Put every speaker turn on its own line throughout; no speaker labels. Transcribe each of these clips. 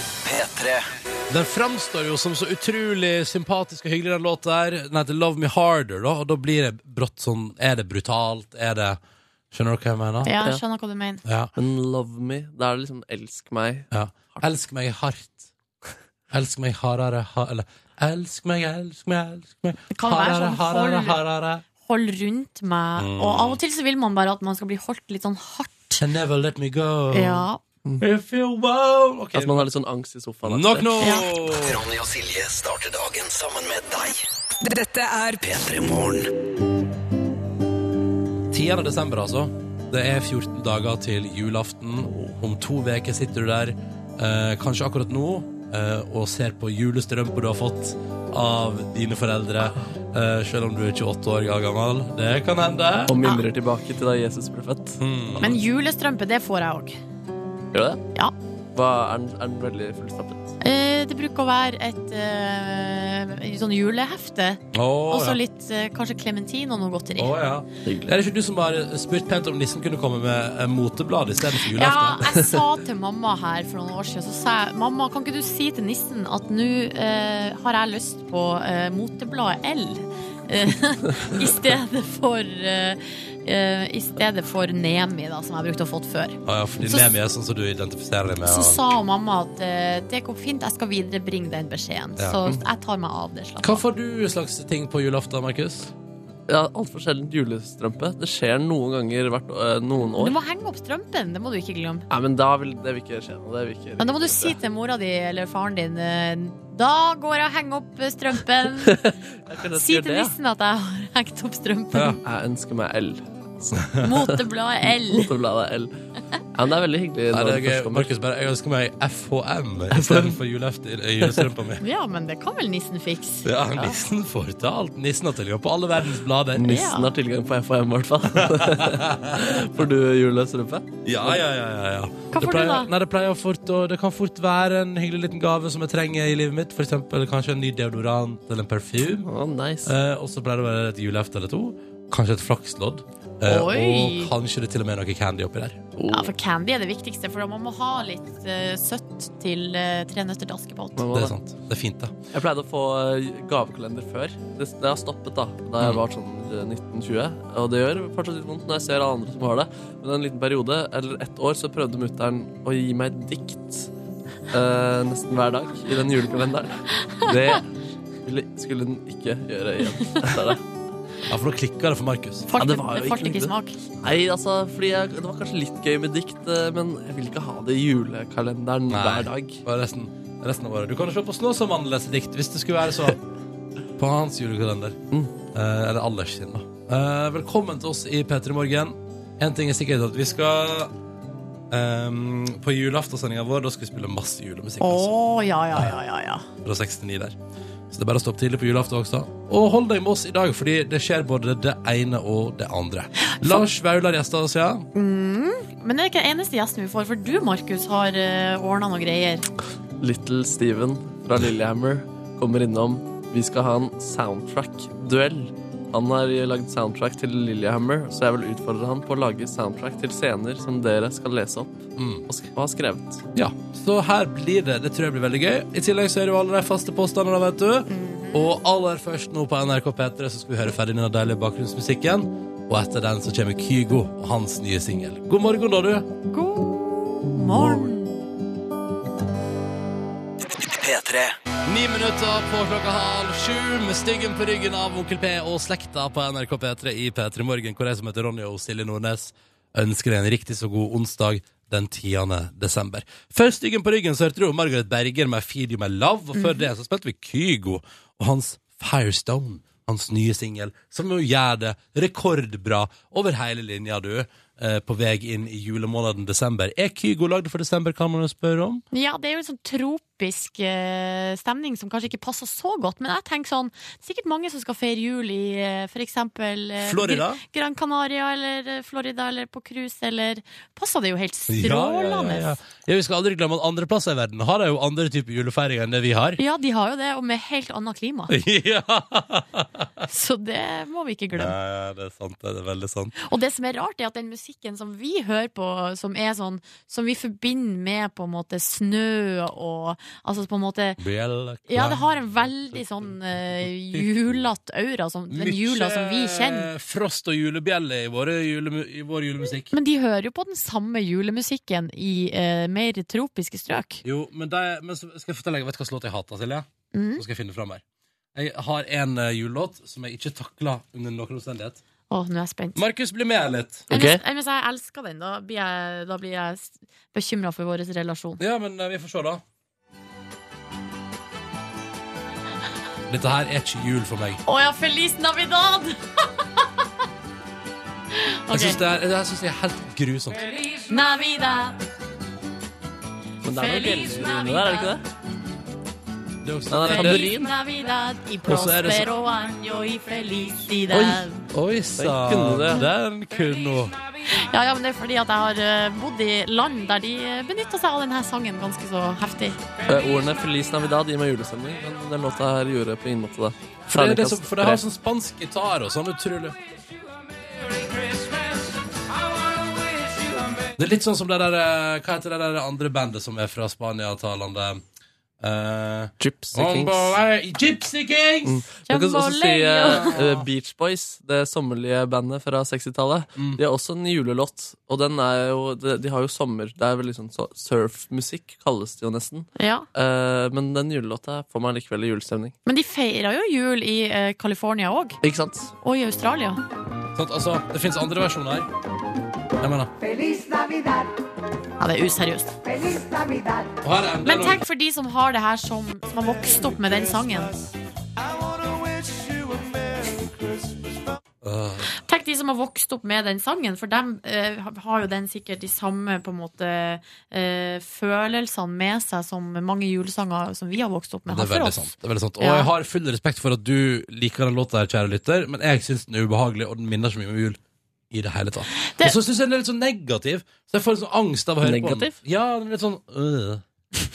P3.
Den framstår jo som så utrolig sympatisk og hyggelig, den låta der. Den heter Love Me Harder, da, og da blir det brått sånn Er det brutalt? Er det Skjønner dere hva jeg mener?
Ja, jeg skjønner hva du mener.
Ja.
Men love me, da er det liksom elsk meg.
ja. Elsk meg hardt. Elsk meg hardere, ha... Eller Elsk meg, elsk meg, elsk meg
Det kan være sånn
hardere,
hold,
hardere.
hold rundt meg.
Mm.
Og av og til så vil man bare at man skal bli holdt litt sånn hardt.
Can never let me go.
Ja.
If you wow okay.
At man har litt sånn angst i sofaen. etter.
Nok nå!
Ronny og Silje starter dagen sammen med deg.
Dette er
P3 Morgen.
10. desember, altså. Det er 14 dager til julaften. Om to uker sitter du der, eh, kanskje akkurat nå, eh, og ser på julestrømpa du har fått av dine foreldre, eh, selv om du er 28 år gammel. Det kan hende.
Og mimrer tilbake til da Jesus ble født.
Mm.
Men julestrømpe, det får jeg òg.
Gjør det det?
Ja.
Hva, er, den, er den veldig fullstappet?
Eh, Det bruker å være et eh, sånn julehefte.
Å,
Og så
ja.
litt eh, kanskje klementin og noe godteri.
Å, ja. Er det ikke du som har spurt pent om nissen kunne komme med eh, moteblad istedenfor
Ja,
julaften?
jeg sa til mamma her for noen år siden Så sa jeg, mamma, kan ikke du si til nissen at nå eh, har jeg lyst på eh, motebladet L eh, I stedet for eh, eh, I stedet for Nemi da, som jeg brukte å fått før
Ja, ja, fordi
Så-
Nemi er sånn som du identifiserer deg med.
Så
og-
sa mamma at eh, det går fint, jeg skal viderebringe den beskjeden
Ja.
Så jeg tar meg av det slapp
Hva
av.
får du slags ting på julaften, Markus?
Ja, Altfor sjeldent julestrømpe. Det skjer noen ganger hvert øh, noen
Du
år.
må henge opp strømpen, det må du ikke glemme
Nei, men da vil det vil ikke skje noe. Det vil ikke,
Men da må du si til mora di eller faren din eh, Da går jeg og henger opp strømpen
Jeg kunne ønske
Si til
jeg gjorde det,
nissen at jeg har hengt opp strømpen.
Ja.
ja. Jeg ønsker meg L.
Motebladet L.
Motorbladet L. Ja, men det er veldig hyggelig.
Nei,
når
det er
det først
gøy.
kommer.
Markus bare, jeg ønsker meg FHM istedenfor julestrømpa mi.
Ja, men det kan vel nissen fikse.
Ja, nissen får til alt. Nissen har tilgang på alle verdens blader.
Nissen har tilgang på FHM, i hvert fall. Får du julestrømpe?
Ja, ja, ja, ja, ja.
Hva
Det
får du
pleier,
da?
Nei, det pleier fort å Det kan fort være en hyggelig liten gave som jeg trenger i livet mitt. For eksempel kanskje en ny deodorant eller en parfyme.
Å, nice.
Eh, og så pleier det å være et julehefte eller to. Kanskje et flakslodd. Eh, og
Oi.
kanskje det til og med er noe candy oppi der.
Ja, For candy er det viktigste, for man må ha litt eh, søtt til eh, Tre nøtter til Askepott.
Man må
Det
det.
er sant. Det er fint, det.
Jeg pleide å få eh, gavekalender før. Det, det har stoppet da da jeg var sånn eh, 1920. Og det gjør fortsatt litt vondt når jeg ser alle andre som har det. Men en liten periode, eller ett år, så prøvde mutter'n å gi meg et dikt eh, nesten hver dag i den julekalenderen. Det ville, skulle den ikke gjøre igjen. etter det.
Ja, For da klikker det for Markus.
Falt,
Ja,
det,
det var jo
falt
ikke
ikke i smak.
Nei, altså, fordi jeg, Det var kanskje litt gøy med dikt, eh, men jeg vil ikke ha det i julekalenderen
Nei.
hver dag.
Og resten, resten av året. Du kan jo se på Snåsamannen lese dikt, hvis det skulle være så. På hans julekalender. Eh, eller Allers sin, da. Eh, velkommen til oss i P3 Morgen. En ting er sikkert at vi skal ehm, På julaftensendinga vår Da skal vi spille masse julemusikk.
Å,
Altså,
ja, ja, ja, ja, ja.
fra 69 der Så det er bare å stå opp tidlig på julaften også. Og hold deg med oss i dag, Fordi det skjer både det ene og det andre. Lars Vaular gjester oss, ja.
Men det er ikke den eneste gjesten vi får, for du, Markus, har uh, ordna noe greier.
Little Steven fra Lillehammer kommer innom. Vi skal ha en soundtrack-duell. Han har lagd soundtrack til Lillehammer, så jeg vil utfordre han på å lage soundtrack til scener som dere skal lese opp
Mm.
og, sk og ha skrevet.
Ja, så her blir det. Det tror jeg blir veldig gøy. I tillegg så er det jo alle de faste påstandene, vet du. Og aller først nå på NRK P3 så skal vi høre ferdig den deilige bakgrunnsmusikken. Og etter den så kommer Kygo og hans nye singel. God morgen, da, du.
God morgen.
P3.
Ni minutter på klokka halv sju med styggen på ryggen av Onkel P og slekta på NRK P3 i P3 Morgen, hvor jeg som heter Ronny og Silje Nordnes ønsker deg en riktig så god onsdag den 10. desember. Før Styggen på ryggen så hørte du om Margaret Berger med Feed You My Love, og
Mhm.
før det så spilte vi Kygo og hans Firestone, hans nye singel, som jo gjør det rekordbra over hele linja, du. eh, På vei inn i julemåneden desember. Er Kygo lagd for desember, kan man jo spørre om?
Ja, det er jo en sånn tropisk eh, stemning som kanskje ikke passer så godt, men jeg tenker sånn, sikkert mange som skal feire jul i eh, for eksempel eh,
Florida?
Gr- Gran Canaria eller eh, Florida eller på cruise eller Passer det jo helt
Ja,
strålende. Ja,
Ja, ja, ja. ja, vi skal aldri glemme at andre plasser i verden har jo andre typer julefeiringer enn det vi har.
de har jo det, og med helt annet klima.
ja.
Så det må vi ikke glemme.
ja, det er sant. Det er veldig sant.
Og det som er rart, er at den musikken som vi hører på, som er sånn Som vi forbinder med på en måte snø og Altså på en måte
Bjell,
Ja, det har en veldig sånn uh, julete aura, som, den jula som vi kjenner.
Frost og julebjelle i, våre julemu i vår julemusikk.
Men de hører jo på den samme julemusikken i eh, mer tropiske strøk.
Jo, men, det, men så skal jeg fortelle deg, vet du hva slags låt jeg hater, Silje?
Mm.
Nå skal jeg finne fram her. Jeg har en eh, julelåt som jeg ikke takler under noen omstendighet.
Å, nå er jeg spent.
Markus, bli med litt.
Men
Ok.
hvis- men hvis jeg elsker den, da blir jeg, da blir jeg bekymra for vår relasjon.
Ja, men eh, vi får se, da. Dette her er ikke jul for meg.
Å ja, Feliz Navidad!
Jeg synes
ok.
det, er, det her synes jeg er helt grusomt.
Navidad.
Men det er noe
Feliz
bjeller inni der, er det ikke det?
Det er også,
Nei, nei,
det-
tamburin.
Feliz Navidad y
Og så er det så-
prospero año y felicidad.
Oi
kunne
sann,
det.
den kunne hun.
Ja, ja, men det er fordi at jeg har eh, bodd i land der de benytta seg av denne sangen ganske så heftig.
Eh, Ordene 'Feliz Navidad' gir meg julestemning, men den låta her gjorde på ingen måte det.
For det, er det, som,
Terningkast
for det har
tre.
sånn spansk gitar og sånn utrolig Det er litt sånn som det der eh, Hva heter det der andre bandet som er fra Spania-talende? Eh,
Gypsy Kings.
Bombolei- Gypsy Kings!
Mm.
Jeg kan også si
Jambalaya.
eh, Beach Boys, det sommerlige bandet fra 60-tallet. De har også en julelåt, og den er jo, de, de har jo sommer Det er vel liksom så- surfmusikk, kalles det jo nesten.
Ja.
Eh, men den julelåta får meg likevel i julestemning.
Men de feira jo jul i eh, California òg,
Ikke sant?
og i Australia.
Sånn, altså, det fins andre versjoner her. Jeg mener.
Feliz Navidad,
Ja, det er useriøst.
feliz Navidad.
Og her er en
Men tenk for de som har det her som, som har vokst opp med den sangen.
Øh,
Tenk de som har vokst opp med den sangen, for dem eh, har jo den sikkert de samme på en måte eh, følelsene med seg som mange julesanger som vi har vokst opp med.
Det
har
er
for
veldig
oss.
sant. Det er veldig sant. Og
Ja.
jeg har full respekt for at du liker den låta, her, kjære lytter, men jeg syns den er ubehagelig, og den minner så mye om jul. I det hele tatt.
Det-
Og så syns jeg den er litt sånn negativ, så jeg får litt sånn angst av å høre
Negativ?
på den. Ja, den er litt sånn øh.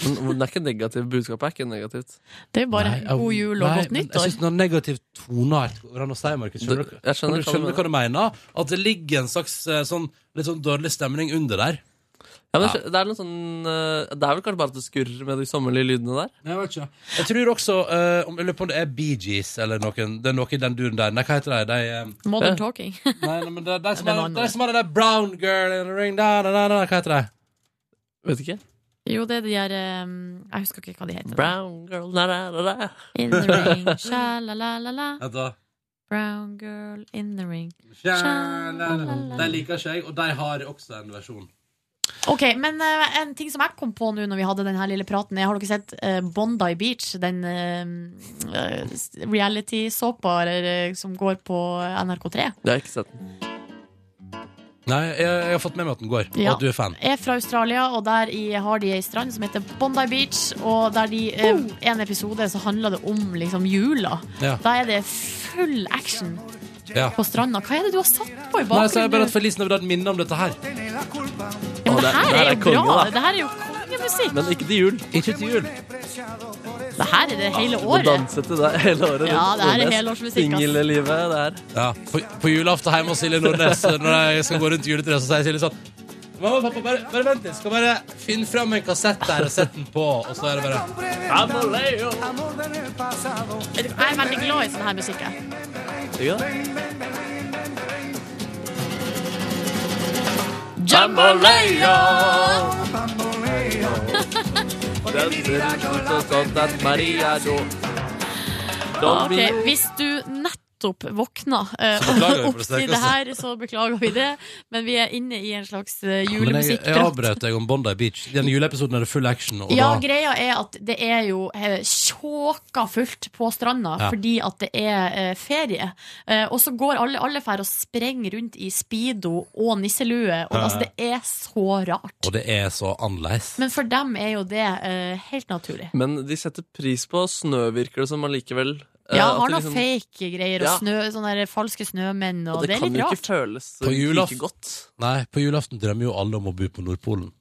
Men hvor- det er ikke negativt. Budskapet er ikke negativt.
Det er jo bare
Nei, jeg-
god jul og
nei,
godt
men Jeg
nyttår.
syns den har negativ toneart. Går det an å si, Markus? Skjønner
Du-
du,
jeg skjønner hva
du,
du
skjønner du hva du mener? At det ligger en slags eh, sånn, litt sånn dårlig stemning under der.
Ja, men Det er noe sånn eh, Det er vel kanskje bare at det skurrer med de sommerlige lydene der.
Jeg vet ikke. Jeg tror også eh, om, Jeg lurer på om det er Bee Gees eller noen Det er noe i den duren der. Nei, hva heter de? de eh,
Modern talking.
Nei, nei, men det er de som
Det er noe
har-
annet.
de som har den der brown girl in the ring da, da, da, da, Hva heter det?
Vet ikke.
jo, det er de der eh, Jeg husker ikke hva de heter.
Brown girl na, na, na, na.
In the ring, sha-la-la-la-la.
Vent
Brown girl in the ring.
da. De liker ikke jeg, og de har også en versjon.
Ok, men eh, en ting som jeg kom på nå når vi hadde den her lille praten er, Har dere sett eh, Bondi Beach? Den eh, eh, reality-såpa eller, eh, som går på NRK3?
Jeg har ikke sett den.
Nei, jeg, jeg har fått med meg at den går,
Ja.
og at du er fan.
Er fra Australia, og der i, har de ei strand som heter Bondi Beach. Og der de eh, en episode så handler det om liksom jula.
Ja.
Da er det full action
Ja.
på stranda. Hva er det du har satt på i
Nei, så er det bare
bakgrunnen?
at Feliz Navidad minner om dette her.
Ja,
Å,
men det
det-
her
det her
er
er
jo
konge,
bra.
da.
Det her er jo kongemusikk.
Men ikke til jul.
Ikke til jul.
Det her er det hele
Å
året.
danse til deg hele året. rundt
Ja, det her er
Nordnes.
helårsmusikk, ass.
Singellivet, det her.
Ja, På, på julaften hjemme hos Silje Nordnes, eh, når jeg skal gå rundt juletreet, så sier Silje sånn Mamma og pappa, bare, bare vent litt. Skal bare finne fram en kassett der og sette den på. Og så er det bare
Jeg er veldig glad i sånn her musikk. jeg.
Ikke det?
Ok, hvis du nettopp våkna eh,
beklager vi for
opp
det
til
sterkeste.
det her, så beklager vi det. Men vi er inne i en slags eh,
Men jeg, jeg
julemusikkprat.
avbrøt deg om Bondi Beach. I den juleepisoden er det full action. Og
Ja,
da,
greia er at det er jo eh, tjåka fullt på stranda
Ja.
fordi at det er eh, ferie. Eh, og så går alle, alle fær og sprenger rundt i speedo og nisselue. Og, altså, det er så rart.
og det er så annerledes.
Men for dem er jo det eh, helt naturlig.
Men de setter pris på snø, virker det som allikevel. Eh,
Ja,
at
har
det
noen
liksom-
fake greier og
Ja.
snø, sånne der falske snømenn, og,
Og det,
det, er
kan
litt
jo
rart.
ikke føles
På julaf-
like godt.
Nei, på julaften drømmer jo alle om å bo på Nordpolen.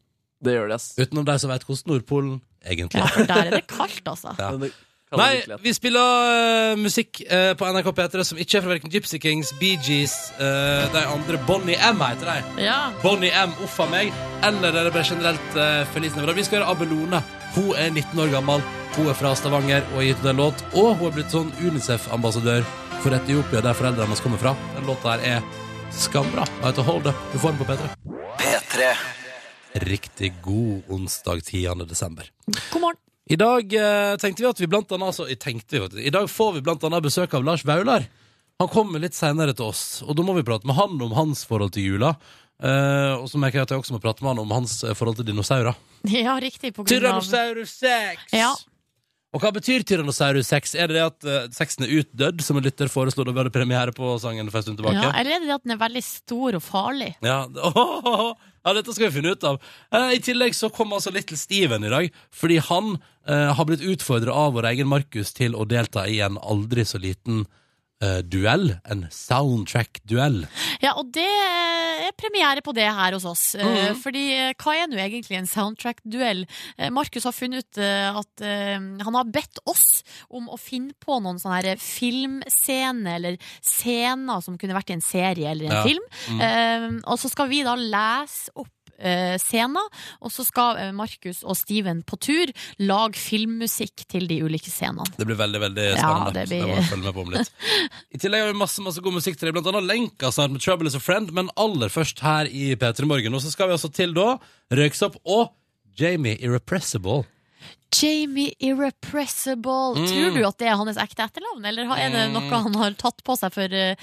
Det gjør det, ass.
Utenom de som vet hvordan Nordpolen egentlig
Ja,
er.
for der er det kaldt, altså.
Ja.
Men det kan
Nei,
virkelig at-
vi spiller eh, musikk eh, på NRK P3 som ikke er fra hverken Gypsy Kings, Bee Gees, eh, de andre Bonnie M heter de.
Ja.
Bonnie M, uff a meg. Eller er det bare generelt eh, Feliz Navidad. Vi skal gjøre Abelone Hun er 19 år gammel, hun er fra Stavanger og har gitt ut en låt. Og hun er blitt sånn UNICEF-ambassadør for Etiopia, der foreldrene hennes kommer fra. Den låta her er skambra. Og heter Hold Up. Du får den på P3.
P3.
Riktig god onsdag 10. desember.
God morgen.
I dag eh, tenkte vi at vi blant annet altså, jeg tenkte, jo at- I dag får vi blant annet besøk av Lars Vaular. Han kommer litt senere til oss, og da må vi prate med han om hans forhold til jula. Eh, og så merker jeg at jeg også må prate med han om hans eh, forhold til dinosaurer.
Ja, riktig. På grunn av
Tyrannosaurus 6!
Ja.
Og hva betyr Tyrannosaurus 6? Er det det at eh, sexen er utdødd, som en lytter foreslo da vi hadde premiere på sangen for en stund tilbake?
ja, Eller er det det at den er veldig stor og farlig?
Ja, det- ja, dette skal vi finne ut av. Eh, I tillegg så kom altså Little Steven i dag, fordi han eh, har blitt utfordra av vår egen Markus til å delta i en aldri så liten eh, duell. En soundtrack-duell.
Ja, og det eh, er premiere på det her hos oss. Eh, Fordi eh, hva er nå egentlig en soundtrack-duell? Eh, Markus har funnet ut eh, at eh, han har bedt oss om å finne på noen sånne her filmscener eller scener som kunne vært i en serie eller en
Ja.
film. Eh, Og så skal vi da lese opp eh, scener, og så skal eh, Markus og Steven på tur lage filmmusikk til de ulike scenene.
Det blir veldig veldig
Ja,
spennende.
det
Så
blir-
det må jeg følge med på om litt. I tillegg har vi masse masse god musikk til deg, blant annet lenka snart med 'Trouble Is A Friend', men aller først her i P3 Morgen. Og så skal vi altså til da Røyksopp og Jamie Irrepressible.
Jamie Irrepressible.
Mm.
Tror du at det er hans ekte etternavn, eller er det noe han har tatt på seg for eh,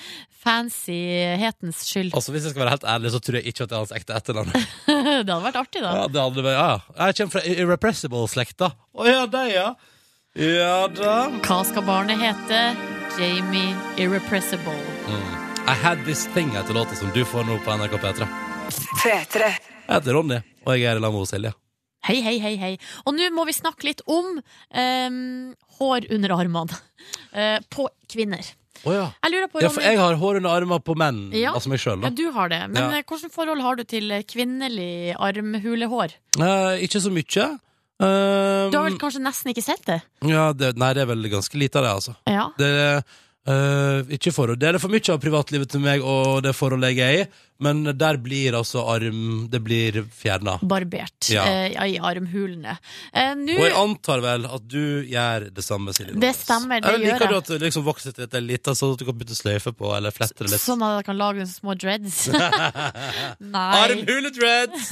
fancyhetens skyld?
Altså Hvis jeg skal være helt ærlig, så tror jeg ikke at det er hans ekte etternavn.
det hadde vært artig, da.
Ja, det hadde vært, ja, ja. Jeg kommer fra Irrepressible-slekta. Å ja, det, ja. Ja da.
Hva skal barnet hete? Jamie Irrepressible.
Mm. I Had This Thing heter låta som du får nå på NRK P3. Jeg heter Ronny, og jeg er i lag med Silje.
Hei, hei, hei, hei. Og nå må vi snakke litt om em, hår under armene eh, på kvinner.
Å ja.
Jeg lurer på,
ja. For
Ronny
jeg har hår under armene på menn,
Ja.
altså meg sjøl, da.
ja, du har det, men
Ja.
eh, hvilket forhold har du til eh, kvinnelig armhulehår?
Eh, ikke så mye. Eh,
Du har vel kanskje nesten ikke sett det?
ja, det, nei, det er vel ganske lite av det, altså.
Ja.
Det er eh, ikke forhold. Det er det for mye av privatlivet til meg og det forholdet jeg er i, men der blir altså arm Det blir fjerna.
barbert
Ja.
eh, i armhulene. Eh, nå-
Og jeg antar vel at du gjør det samme, Silje.
Det
Nordnes.
stemmer, det
Eller
gjør
Liker du
jeg.
at det liksom vokser til at det er lite, sånn at du kan putte sløyfe på eller flette det litt?
Sånn at jeg kan lage noen små dreads. Nei.
Armhuledreads!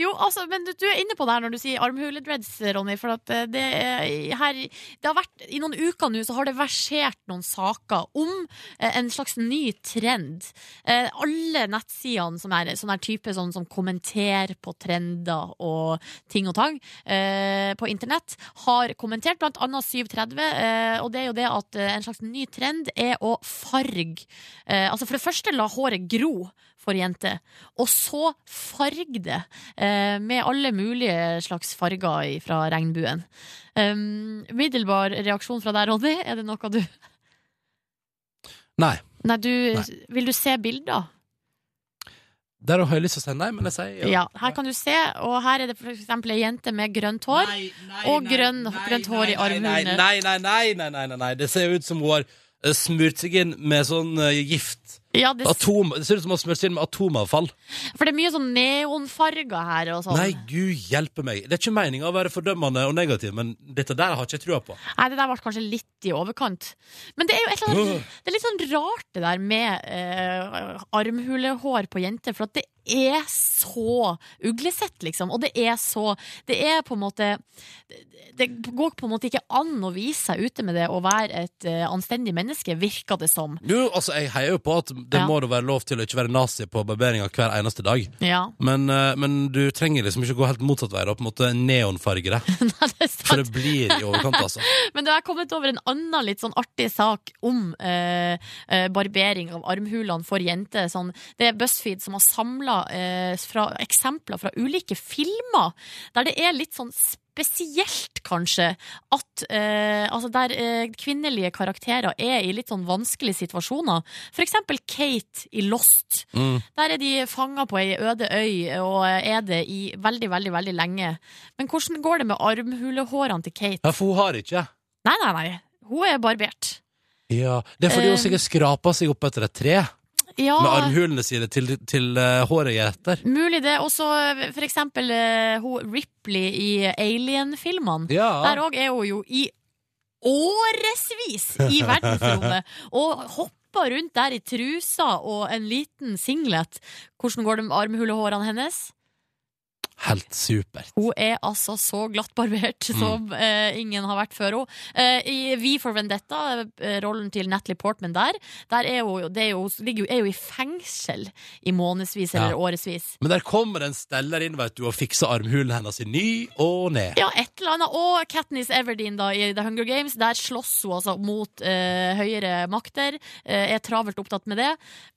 Jo, altså, men du, du er inne på det her når du sier armhuledreads, Ronny. For at eh, det, er- her, det har vært, I noen uker nå så har det versert noen saker om eh, en slags ny trend. Eh, alle nettsidene som er sånn her type sånn, som kommenterer på trender og ting og tang eh, på internett, har kommentert, blant annet 730, eh, og det er jo det at eh, en slags ny trend er å farge. Eh, altså for det første la håret gro for jenter, og så farg det eh, med alle mulige slags farger fra regnbuen. Um, middelbar reaksjon fra deg, Ronny, er det noe du
Nei.
Nei, du,
Nei.
vil du se bilder?
Der har jeg lyst til å si nei, men jeg sier
Ja. Her kan du se, og her er det for eksempel ei jente med grønt hår. og grønn- grønt hår i armhulene.
Nei, nei, nei, nei, nei, nei, nei. Det ser jo ut som hun har eh, smurt seg inn med sånn eh, gift.
Ja, det,
Atom, det ser ut som hun har smurt seg inn med atomavfall.
for det er mye sånn neonfarger her og sånn.
Nei, gud hjelpe meg. Det er ikke meninga å være fordømmende og negativ, men dette der har ikke jeg trua på.
Nei, det der ble kanskje litt i overkant. Men det er jo et eller annet, det er litt sånn rart det der med eh, armhulehår på jenter, for at det er så uglesett, liksom. Og det er så Det er på en måte det- Det går på en måte ikke an å vise seg ute med det og være et eh, anstendig menneske, virker det som.
Jo, altså, jeg heier jo på at det
Ja.
må da være lov til å ikke være nazi på barberinga hver eneste dag.
Ja.
Men, eh, men du trenger liksom ikke gå helt motsatt vei, da, på en måte neonfargere.
Nei, det er sant.
For det blir i overkant, altså.
Men da har jeg kommet over en annen litt sånn artig sak om eh, eh, barbering av armhulene for jenter. Sånn, det er BuzzFeed som har samla eksempler fra ulike filmer der det er litt sånn Spesielt, kanskje, at eh, altså der eh, kvinnelige karakterer er i litt sånn vanskelige situasjoner. For eksempel Kate i Lost.
Mm.
Der er de fanga på ei øde øy og er det i veldig, veldig veldig lenge. Men hvordan går det med armhulehårene til Kate?
Ja, for hun har ikke.
Nei, nei, nei. Hun er barbert.
Ja, Det er fordi
Eh.
hun sikkert skrapa seg opp etter et tre.
Ja,
med armhulene sine til, til eh, håret gjeter.
mulig det. Også eh, for eksempel eh, hun Ripley i Alien-filmene. Der òg er hun jo i årevis i verdensrommet og hopper rundt der i trusa og en liten singlet. Hvordan går det med armhulehårene hennes?
Helt supert.
Hun er altså så glattbarbert som eh, ingen har vært før henne. Eh, I V for Vendetta, eh, rollen til Natalie Portman der, der er hun, jo- det er jo, ligger, jo- er jo i fengsel i månedsvis eller
Ja.
årevis.
Men der kommer en steller inn vet du, og fikser armhulene hennes i ny og ned.
Ja, et eller annet. Og Katniss Everdeen da, i The Hunger Games. Der slåss hun altså mot eh, høyere makter. Eh, er travelt opptatt med det.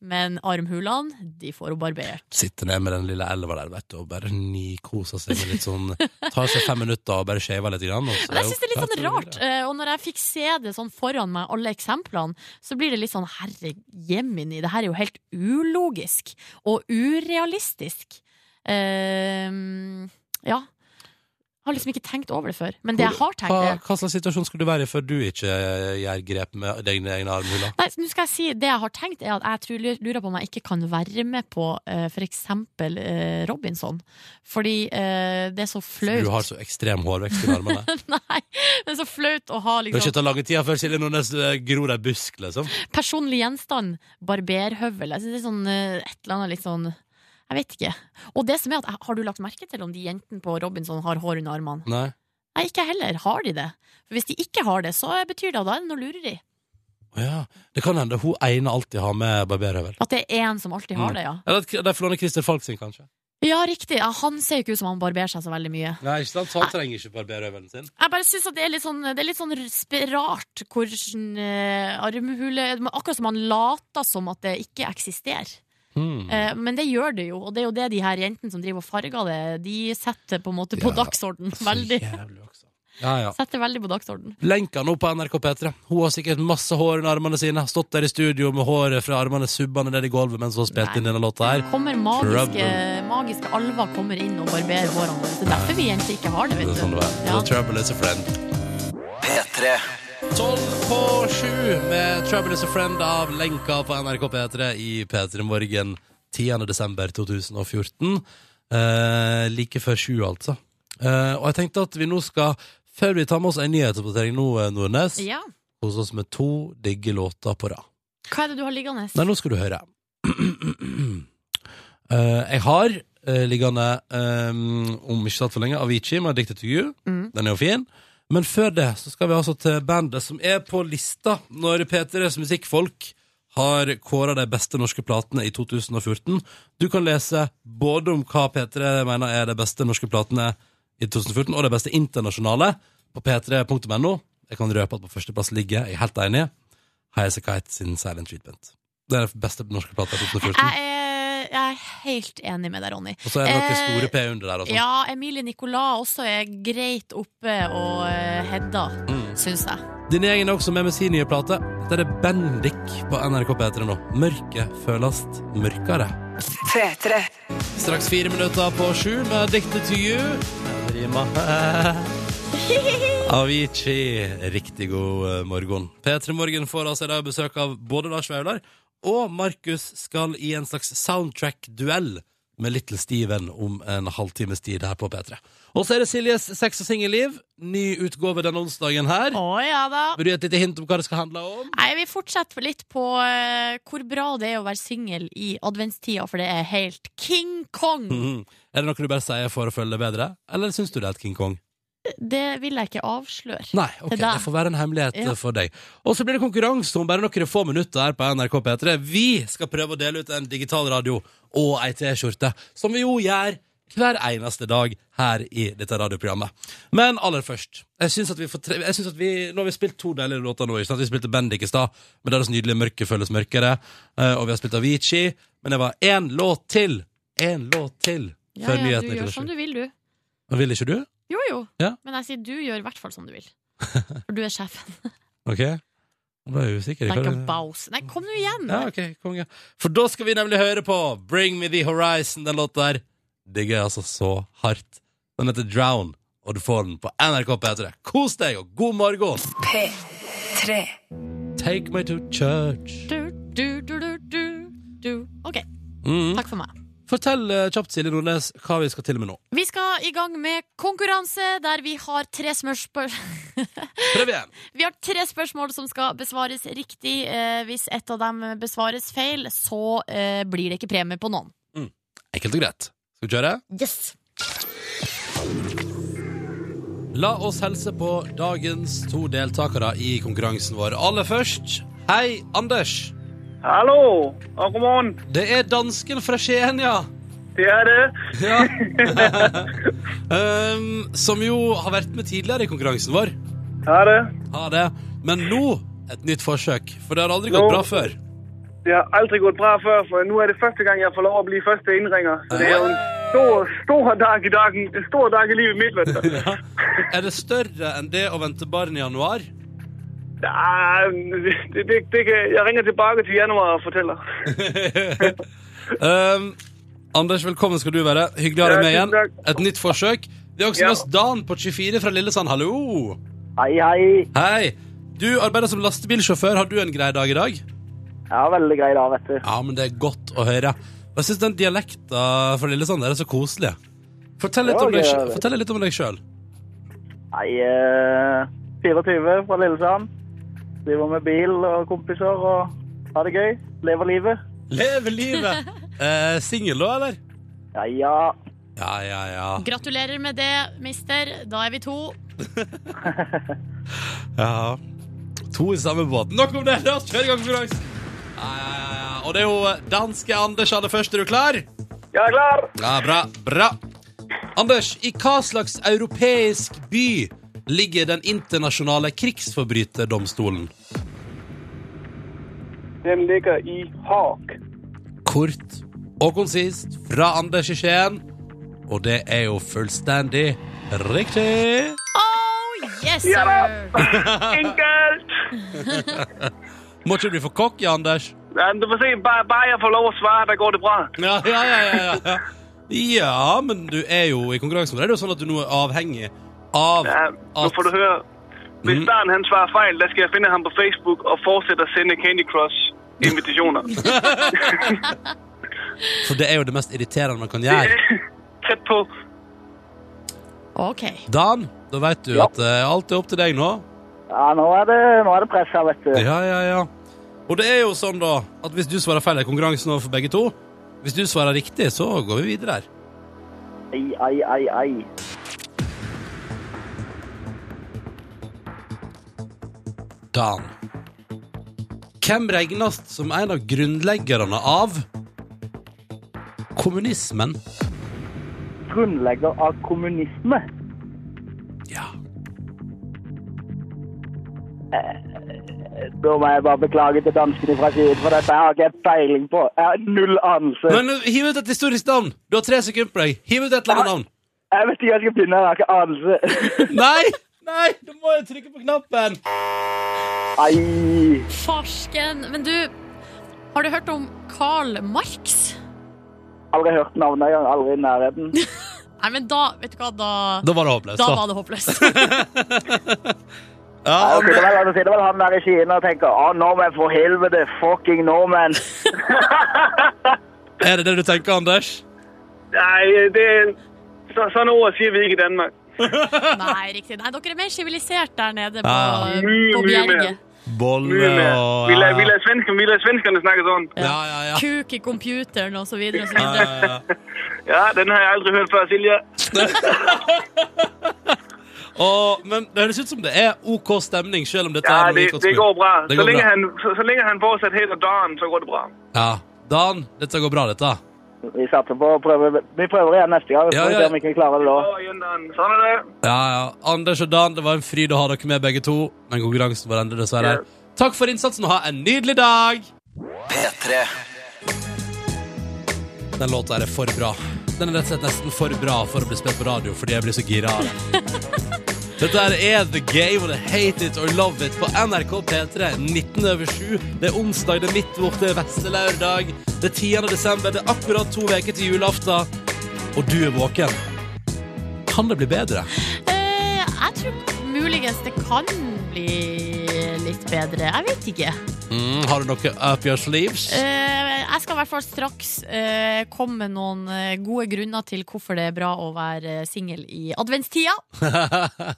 Men armhulene, de får hun barbert.
Sitter ned med den lille elva der vet du, og bare nikoser seg med litt sånn Tar seg fem minutter og bare shaver litt. Grann, og så
Men jeg
er
syns det er litt sånn
opptatt.
rart. eh, og når jeg fikk se det sånn foran meg, alle eksemplene, så blir det litt sånn herre jemini, det her er jo helt ulogisk og urealistisk. Eh, ja. Jeg har liksom ikke tenkt over det før. Men det jeg har tenkt,
Hva,
er
hva slags situasjon skulle du være i før du ikke eh, gjør grep med dine egne armhuler?
Nei, nå skal jeg si Det jeg har tenkt, er at jeg tror, lurer på om jeg ikke kan være med på eh, for eksempel eh, Robinson. Fordi eh, det er så flaut.
Du har så ekstrem hårvekst i armene.
Nei, det er så flaut å
Det
ha
har
liksom,
ikke tatt lange tida før Silje Nordnes eh, gror ei busk, liksom.
personlig gjenstand, barberhøvel. Jeg synes det er sånn eh, et eller annet litt sånn Jeg vet ikke. Og det som er at, eh, har du lagt merke til om de jentene på Robinson har hår under armene?
Nei.
Nei, ikke jeg heller. Har de det? For hvis de ikke har det, så betyr det at da er det noe lureri.
Å Ja, det kan hende hun ene alltid har med barberhøvel.
At det er én som alltid har det, ja.
Eller at de får låne Christer Falk sin, kanskje.
Ja, riktig. Ja, han ser jo ikke ut som han barberer seg så veldig mye.
Nei, ikke sant? Så han trenger ikke barberhøvelen sin.
Jeg bare synes at det er litt sånn, det er litt sånn sp- rart hvordan eh, armhule men Akkurat som man later som at det ikke eksisterer.
Hmm.
Eh, men det gjør det jo, og det er jo det de her jentene som driver og farger det, de setter på en måte på
Ja,
dagsorden. Veldig.
Så jævlig også. Ja, ja.
Setter veldig på dagsorden.
Lenka nå på NRK P3. Hun har sikkert masse hår under armene sine. Har Stått der i studio med håret fra armene subbende ned i gulvet mens hun har spilt
Nei.
inn denne låta her.
Kommer magiske, magiske alver kommer inn og barberer hårene våre. Det er derfor vi jenter ikke har det,
Det er
vet du.
sånn det er.
Ja.
The trouble is a friend.
P3.
Tolv på sju med Trouble is a friend av Lenka på NRK P3 i P3 Morgen 10. desember 2014. Eh, like før sju, altså. Eh, og jeg tenkte at vi nå skal, før vi tar med oss en nyhetsoppdatering nå, eh, Nordnes,
Ja.
hos oss med to digge låter på rad.
Hva er det du har liggende?
Nei, nå skal du høre. Eh, jeg har eh, liggende, eh, om ikke tatt for lenge, Avicii med 'Addicted to You'.
Mm.
Den er jo fin. Men før det så skal vi altså til bandet som er på lista når P3s musikkfolk har kåra de beste norske platene i 2014. Du kan lese både om hva P3 mener er de beste norske platene i 2014, og de beste internasjonale på p3.no. Jeg kan røpe at på førsteplass ligger, jeg er helt enig, Highas a Kite sin Silent Treatment. Det er den beste norske plata i 2014.
Jeg er, jeg er helt enig med deg, Ronny.
Og så er det noen
eh,
store P under der. og sånn. sånt.
Ja, Emilie Nicolas også er greit oppe og eh, Hedda,
Mm.
syns jeg.
Denne gjengen er også med med sin nye plate. Dette er det Bendik på NRK P3 nå. Mørket føles mørkere. Straks fire minutter på sju med Addicted to you. Det rimer. Avicii. Riktig god eh, morgen. P3 Morgen får altså i dag besøk av både Lars Vaular og Markus skal i en slags soundtrack-duell med Little Steven om en halvtimes tid her på P3. Og så er det Siljes sex og singelliv. Ny utgave denne onsdagen her.
Å ja da.
Vil du gi et lite hint om hva det skal handle om?
Nei, Vi fortsetter litt på eh, hvor bra det er å være singel i adventstida, for det er helt King Kong!
Mm. Er det noe du bare sier for å føle det bedre, eller syns du det er et King Kong?
Det vil jeg ikke avsløre.
Nei, ok,
Det
det,
der.
får være en hemmelighet
Ja.
eh, for deg. Og så blir det konkurranse om bare noen få minutter her på NRK P3. Vi skal prøve å dele ut en digital radio og ei T-skjorte, som vi jo gjør hver eneste dag her i dette radioprogrammet. Men aller først, jeg syns at vi får tre... Jeg synes at vi, nå har vi spilt to deilige låter nå, ikke sant? Vi spilte Bendik i stad, med deres nydelige 'Mørket føles mørkere', eh, og vi har spilt Avicii, men det var én låt til! Én låt til!
Ja,
Før
ja, du
nyhetene
gjør
klokka
som
sju.
du vil, du.
Vil ikke du?
Jo jo,
Ja.
men jeg sier du gjør i hvert fall som du vil. For du er sjefen.
Ok. Nå ble jeg usikker.
Like a
Hva-
bouse. Nei, kom nå igjen!
Ja, ok, konge. For da skal vi nemlig høre på Bring Me The Horizon, den låta der. Digger jeg altså så hardt. Den heter Drown, og du får den på NRK P3. Kos deg, og god morgen! Take me to church.
Du, du, du, du, du, du,
Mm.
Takk for meg.
Fortell eh, kjapt, Silje Nordnes, hva vi skal til med nå.
Vi skal i gang med konkurranse der vi har tre smørspørsmål
Prøv igjen!
Vi har tre spørsmål som skal besvares riktig. Eh, hvis ett av dem besvares feil, så eh, blir det ikke premie på noen.
Enkelt og greit. Skal vi kjøre?
Yes!
La oss helse på dagens to deltakere i konkurransen vår. Aller først, hei, Anders.
Hallo, og god morgen.
Det er dansken fra Skien, ja.
Det er det.
ja. um, som jo har vært med tidligere i konkurransen vår.
Det er det.
Ha det. Men nå et nytt forsøk, for det har aldri gått
Nå.
bra før.
Det har aldri gått bra før, for nu er det første gang, jeg får lov at blive første indringer. Så det er jo en stor, stor dag i dagen. En stor dag i livet mitt, vet du.
Ja. Er det større enn det å vente barn i januar?
Ja, det, det, det, kan- jeg ringer tilbake til januar og fortæller.
Um, Anders, velkommen skal du være. Hyggelig å ha deg med
Ja, tusen
igjen.
takk.
Et nytt forsøk. Vi har også
Ja.
med oss Dan på 24 fra Lillesand. Hallo!
Hei, hei.
Hei! Du arbeider som lastebilsjåfør. Har du en grei dag i dag?
Ja, veldig grei da, vet du.
Ja, men det er godt å høre. Og Jeg syns den dialekta fra Lillesand der er så koselig. Fortell litt
Ja,
om deg,
det er
sj-
det.
fortell litt om deg sjøl.
Nei, eh, 24 fra Lillesand. Driver med bil og kompiser og har det gøy. Lever livet.
Leve livet! Eh, Singel da, eller?
Ja, ja.
Ja, ja, ja.
Gratulerer med det, mister. Da er vi to.
Ja. To i samme båt. Nok om det! La oss kjøre i gang konkurransen! Ja, ja, ja, ja. Og det er jo eh, danske Anders aller først. Er du klar?
Jeg er klar.
Ja, bra, bra. Anders, i hva slags europeisk by ligger den internasjonale krigsforbryterdomstolen?
Den ligger i Hawk.
Kort og konsist fra Anders i Skien. Og det er jo fullstendig riktig.
Oh, yes,
Ja da!
sir!
Enkelt!
Må ikke bli for cocky, Anders.
Ja, men du får se, bare, bare jeg får lov at svare, der går det bra.
Ja, ja, ja, ja, ja. ja, men du er jo i konkurransen. Det er jo sånn at du nå er avhengig av
Ja, nu får du
at
høre. Hvis
Mhm.
Dan han svarer fejl, der skal jeg finde ham på Facebook og fortsætte at sende Candy Crush invitationer.
For det er jo det mest irriterende man kan gjøre.
Tæt på.
OK.
Dan, da veit du
Ja.
at eh, alt er opp til deg nå.
Ja, nå er det, nå er det press her, vet du.
Ja, ja, ja. Og det er jo sånn, da, at hvis du svarer feil, er konkurransen over for begge to. Hvis du svarer riktig, så går vi videre her.
Ai, ai, ai, ai.
Dan. Hvem regnes som en av grunnleggerne av kommunismen?
Grunnlegger av kommunisme.
Ja.
Da må jeg bare beklage til danskene fra siden, for dette har ikke jeg peiling på. Jeg har null anelse.
Men uh, hiv ut et historisk navn! Du har tre sekunder på deg. Hiv ut et eller annet navn.
Jeg vet ikke hva jeg skal begynne, jeg har ikke anelse.
Nei! Nei, du må jo trykke på knappen!
Ai.
Farsken. Men du, har du hørt om Karl Marx?
Aldri hørt navnet engang, aldri i nærheten.
Nei, men da Vet du hva, da,
Da var det håpløst.
da
da.
var det håpløst.
Ja,
Ja, Da
Ander-
sitter, vel, da sitter vel han der i Kina og tenker Å, nordmenn, for helvete! Fucking nordmenn!
er det det du tenker, Anders?
Nej, det er... Så, sådan ord siger vi ikke i Danmark.
Nei, riktig. Nei, dere er mer sivilisert der nede på,
Ja.
Mye,
på
mye mer.
bjerget.
Bolle
Mye mere.
og
Vi lader, vi lader, svenskerne, vi lader svenskerne snakke sådan.
Ja, ja, ja.
Kuk i computeren og så videre og så
Ja,
videre.
ja, ja.
Ja, den har jeg aldrig hørt før, Silja.
Og, men det høres ut som det er OK stemning, selv om dette
Ja,
er noe
det,
vi godt
det
skulle-
går bra.
Det
så,
går
længe
bra.
han, så, så længe han fortsat hedder Dan, så går det bra.
Ja. Dan, dette går bra, dette.
Vi satser på å prøve Vi prøver igjen neste gang, så
Ja,
får vi
ja.
se om vi ikke klarer det da.
Åh, igen, Dan. Sådan er det.
Ja, ja. Anders og Dan, det var en fryd å ha dere med, begge to. Men konkurransen var endret, dessverre. Takk for innsatsen, og ha en nydelig dag!
P3.
Den låta her er for bra. Den er rett og slett nesten for bra for å bli spilt på radio fordi jeg blir så gira. av den. Dette her er The Game og det er Hate It or Love It på NRK P3 19 over 7. Det er onsdag, det er midt borte, vestelørdag. Det er 10. desember, det er akkurat to uker til julaften. Og du er våken. Kan det bli bedre?
Eh, jeg tror muligens det kan bli litt bedre. Jeg vet ikke.
Mm, har du noe up your sleeves?
Eh, jeg jeg skal i hvert fall straks eh, komme med noen eh, gode grunner til hvorfor det er bra å være eh, singel i adventstida. Eh,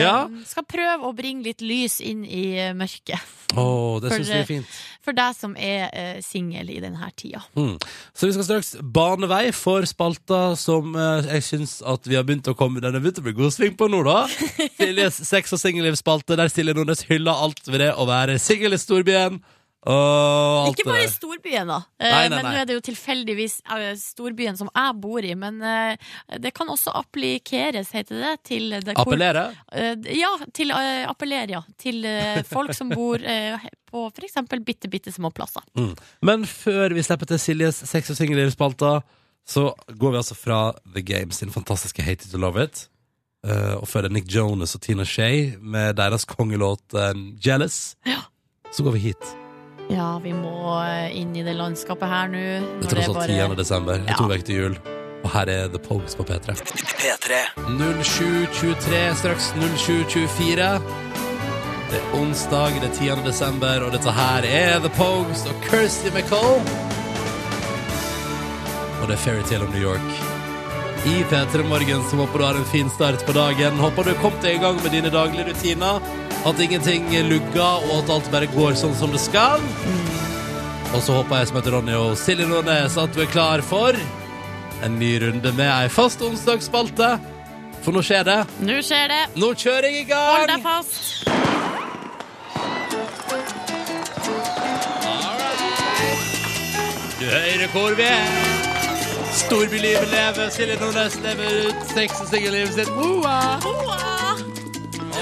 Ja.
Skal prøve å bringe litt lys inn i eh, mørket
Åh, det
For
syns vi
det-
er fint.
for deg som er eh, singel i denne tida.
Mm. Så vi skal straks bane vei for spalta som eh, jeg syns at vi har begynt å komme Den har begynt å bli god sving på nå, da. Siljes sex- og singellivsspalte, der Silje Nordnes hyller alt ved det å være singel i storbyen. Og alt
Ikke bare i
det der.
storbyen, da. Eh,
Nei, nei,
men
nei.
nå er det jo tilfeldigvis eh, storbyen som jeg bor i. Men eh, det kan også appelleres, heter det. Til det hvor-
Appellere.
Eh, ja, til eh, appellere, ja. Til eh, folk som bor eh, på for eksempel bitte, bitte små plasser.
Men før vi slipper til Siljes sex- og singellivsspalta, så går vi altså fra The Game sin fantastiske Hate It To Love It. eh, og før det er Nick Jonas og Tina Shay med deres kongelåt eh, Jealous. Så går vi hit.
Ja, vi må eh, inn i det landskapet her nå.
Det er
når
tross alt 10.
bare-
desember. Det er to uker til jul. Og her er The Pogues på P3.
P3.
07.23, straks 07.24. Det er onsdag, det er 10. desember, og dette her er The Pogues og Kirsty MacColl. Og det er Fairytale of New York. I P3 Morgen så håper du har en fin start på dagen. Håper du kom deg i gang med dine daglige rutiner. At ingenting lugger, og at alt bare går sånn som det skal. Og så håper jeg som heter Ronny og Silje Nordnes at du er klar for en ny runde med ei fast onsdagsspalte. For nå skjer det.
Nå skjer det!
Nå kjører jeg i gang!
Hold deg fast!
Du hører hvor vi er. Storbylivet lever, Silje Nordnes lever ut sex- og singellivet sitt. Hoa!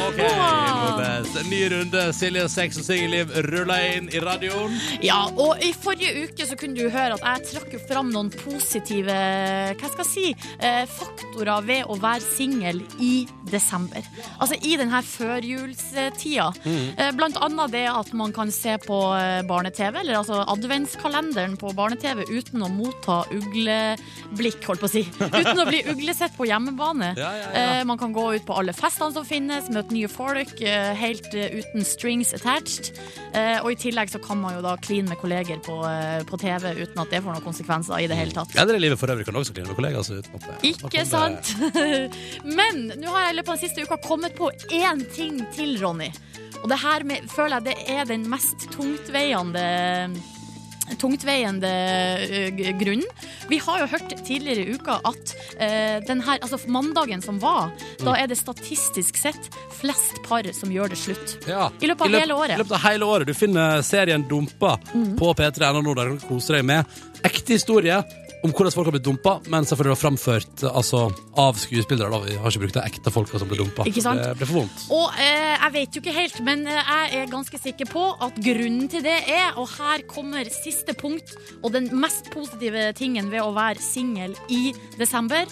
Ok, Nordnes. En ny runde. Silje og sex og singelliv ruller inn i radioen.
Ja, og i forrige uke så kunne du høre at jeg trakk jo fram noen positive hva skal jeg si, eh, faktorer ved å være singel i desember. Altså i denne førjulstida. Eh, Blant annet det at man kan se på eh, barne-TV, eller altså adventskalenderen på barne-TV uten å motta ugleblikk, holdt på å si. Uten å bli uglesett på hjemmebane.
Ja, ja, ja.
Eh, Man kan gå ut på alle festene som finnes, møte nye folk, eh, helt eh, uten strings attached. Eh, Og i tillegg så kan man jo da kline med kolleger på, eh, på TV uten at det får noen konsekvenser i det hele tatt.
Eller i livet for øvrig kan du også kline med kollegaer. så uten at det- at
Ikke
det-
sant? Men nå har jeg i løpet av den siste uka kommet på én ting til, Ronny. Og det her med, føler jeg det er den mest tungtveiende Tungtveiende ø, g- grunnen. Vi har jo hørt tidligere i uka at ø, den her, altså mandagen som var, da
Mm.
er det statistisk sett flest par som gjør det slutt.
Ja.
I løpet av
løp-
hele året. Mm.
I løpet av hele året. Du finner serien Dumpa på P3 nå, der du kan kose deg med ekte historie om hvordan folk har blitt dumpa, men selvfølgelig da framført eh, altså, av skuespillere. Da. Vi har ikke brukt det ekte folka som ble dumpa.
Ikke sant?
Det ble for vondt.
Og eh, jeg vet jo ikke helt, men eh, jeg er ganske sikker på at grunnen til det er Og her kommer siste punkt og den mest positive tingen ved å være singel i desember.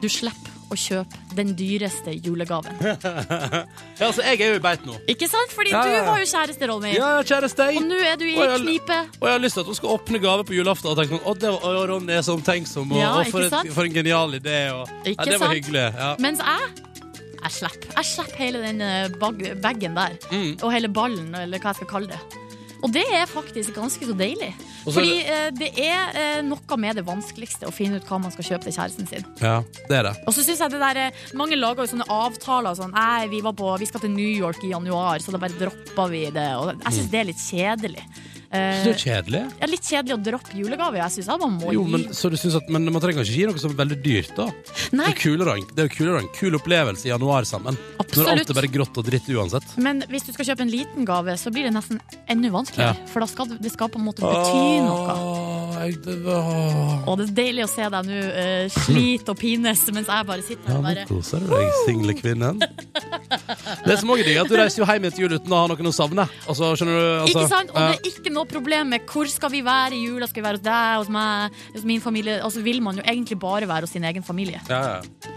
Du slipper å kjøpe den dyreste julegaven.
Ja, altså, jeg er jo i beit nå.
Ikke sant? Fordi
Ja, ja, ja.
du var jo kjæreste, Ronny.
Ja, ja, kjæreste. jeg-
Og nå er du i
Og jeg-
knipe.
Og jeg har lyst til at hun skal åpne gave på julaften. Og tenke sånn, å, det var, å, Ronny er så omtenksom, og,
Ja,
og for,
ikke
et,
sant?
for en genial idé. Og,
Ikke
ja, det var
sant?
hyggelig. Ja.
Mens jeg jeg slipper. Jeg slipper hele den eh, bag- bagen der.
Mm.
Og hele ballen, eller hva jeg skal kalle det. Og det er faktisk ganske så deilig.
Og så er
Fordi eh, det er eh, noe med det vanskeligste å finne ut hva man skal kjøpe til kjæresten sin.
ja, det er det.
Og så synes jeg det der, eh, Mange lager jo sånne avtaler sånn Nei, vi, var på, vi skal til New York i januar, så da bare dropper vi det. Og jeg
Mm.
syns det er litt kjedelig. Eh,
Så det er kjedelig.
ja, litt kjedelig å droppe julegave. Jeg synes at man må
Jo,
gi
men, så du synes at, men man trenger ikke gi noe som er veldig dyrt, da.
Nei,
Det er kulere, det er jo kulere en kul opplevelse i januar sammen. Når alt
absolutt.
er bare grått og dritt uansett.
Men hvis du skal kjøpe en liten gave, så blir det nesten enda vanskeligere. For da skal det- det skal på en måte bety noe.
Åh, jeg- det var-
Og det er deilig å se deg nå eh, slite og pines, mens jeg bare sitter her
Ja,
og
nå
bare
koser du deg, single kvinnen. Det som også er digg, er at du reiser jo hjem etter jul uten å ha noen å savne. Altså, skjønner du? Altså,
Ikke sant? Og
ja.
det er ikke noe problem med hvor skal vi være i jula, skal vi være hos deg, hos meg, hos min familie. Altså vil man jo egentlig bare være hos sin egen familie.
ja, ja.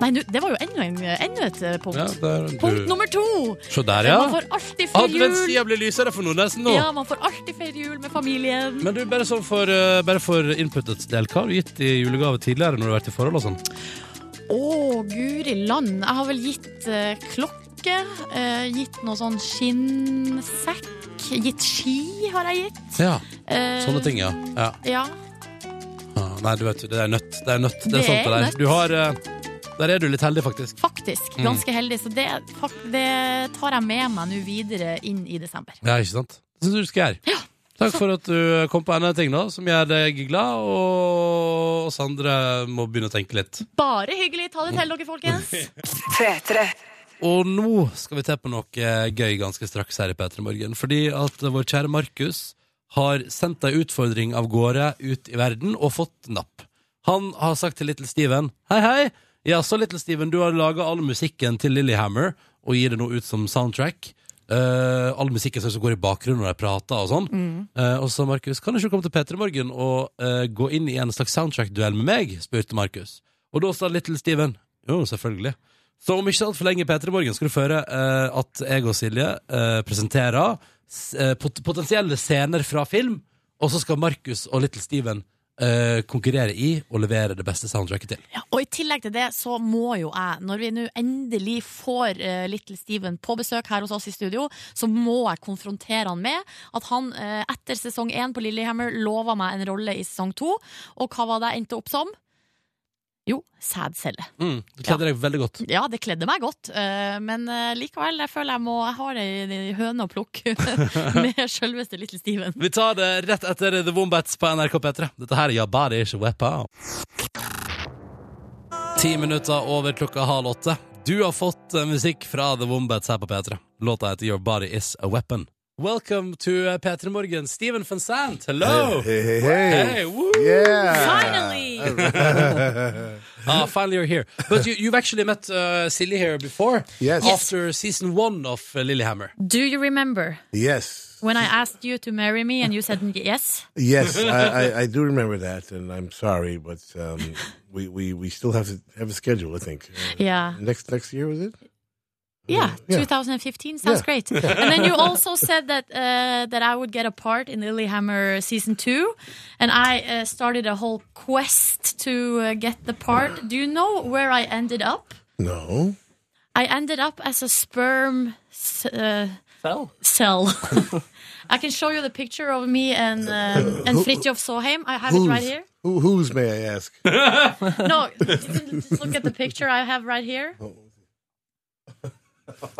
Nei, nå- det var jo enda, en, enda et eh, punkt.
ja der, du.
Punkt nummer to!
Se der,
Man
ja.
får alltid feire jul.
Adventstida blir lysere for Nordnesen nå.
Ja, man får alltid feire jul med familien.
Men du, bare, sånn for, eh, bare for inputets del, hva har du gitt i julegave tidligere når du har vært i forhold og sånn?
Å, guri land. Jeg har vel gitt eh, klokke jakke. eh, gitt noe sånn skinnsekk. Gitt ski, har jeg gitt.
Ja,
Eh,
sånne ting, ja. ja.
Ja.
Ah, Nei, du vet, det er nødt. Det er nødt. Det er
Det
sant, det
er
der.
nødt.
Du har eh, Der er du litt heldig, faktisk.
Faktisk.
Mm.
Ganske heldig. Så det, fak- det tar jeg med meg nå videre inn i desember.
Ja, ikke sant? Det syns jeg du skal gjøre. Takk for at du eh, kom på en av ting da, som gjør deg glad, og oss andre må begynne å tenke litt.
Bare hyggelig. Ta det til dere, folkens.
Og nå skal vi til på noe eh, gøy ganske straks her i P3 Morgen. Fordi at vår kjære Markus har sendt ei utfordring av gårde ut i verden og fått napp. Han har sagt til Little Steven Hei, hei! Ja, så Little Steven, du har laga all musikken til Lillehammer og gir det nå ut som soundtrack. Eh, all musikken som går i bakgrunnen når de prater og sånn. Eh, og så Markus, kan du ikke komme til P3 Morgen og eh, gå inn i en slags soundtrack-duell med meg? spurte Markus. Og da sa Little Steven jo, selvfølgelig. Så om ikke altfor lenge, Peter Morgen, skal du føre eh, at jeg og Silje eh, presenterer s- eh, pot potensielle scener fra film, og så skal Markus og Little Steven eh, konkurrere i og levere det beste soundtracket til.
Ja, og i tillegg til det så må jo jeg, når vi nå endelig får eh, Little Steven på besøk her hos oss i studio, så må jeg konfrontere han med at han eh, etter sesong én på Lillehammer lova meg en rolle i sesong to, og hva var det jeg endte opp som? Jo, sædcelle.
Mm, det kledde deg veldig godt.
Ja, det kledde meg godt, eh, men eh, likevel, jeg føler jeg må Jeg har ei ei høne å plukke med sjølveste Little Steven.
Vi tar det rett etter The Wombats på NRK P3. Dette her er Jabari Shwepa. Ti minutter over klokka halv åtte. Du har fått eh, musikk fra The Wombats her på P3. Låta heter Your Body Is A Weapon. Welcome to eh, P3 Morgen, Steven van Sant. Hello!
Hey, hey, hey.
Hey, woo!
Yeah.
Finally!
Ah, finally you're here. But you, you've actually met uh, Silly here before.
Yes. Yes.
After season one of uh, Lilyhammer.
Do you remember
Yes.
when I asked you to marry me, and you said yes?
Yes, I, I, I do remember that, and I'm sorry, but um, we, we, we still have to have a schedule, I think. Uh,
Yeah.
Next next year, was it?
Yeah,
Yeah.
2015 sounds
Yeah.
great. And then you also said that uh, that I would get a part in Lilyhammer season two, and I uh, started a whole quest to uh, get the part. Do you know where I ended up?
No.
I ended up as a sperm s- uh,
Fell.
cell. I can show you the picture of me and um, and Fridtjof Soheim. I have it right here.
Who, who's, may I ask?
No, just look at the picture I have right here.
Oh,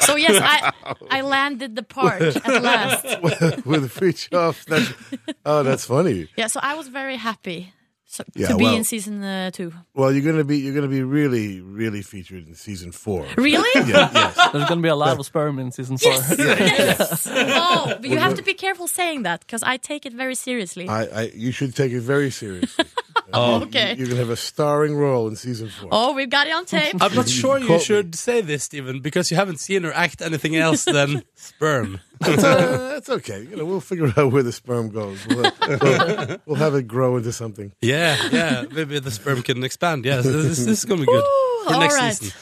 so yes, I I landed the part at last.
With a free off. That's, oh, that's funny.
Yeah, so I was very happy so,
Yeah,
to be
well-
in season uh, two.
Well, you're gonna be you're gonna be really really featured in season four.
Really?
Yeah, yes.
There's gonna be a lot of sperm in season four.
yes. Oh, but you have to be careful saying that because I take it very seriously.
I, I you should take it very seriously.
okay.
You're gonna have a starring role in season four.
oh, we've got it on tape.
I'm not sure you
Call-
should say this, Steven, because you haven't seen her act anything else than sperm.
That's, uh, that's okay. You know, we'll figure out where the sperm goes. We'll, we'll, we'll have it grow into something.
Yeah, yeah. Maybe the sperm can expand. Yes, this, this is going to be good for
all
next
right.
season.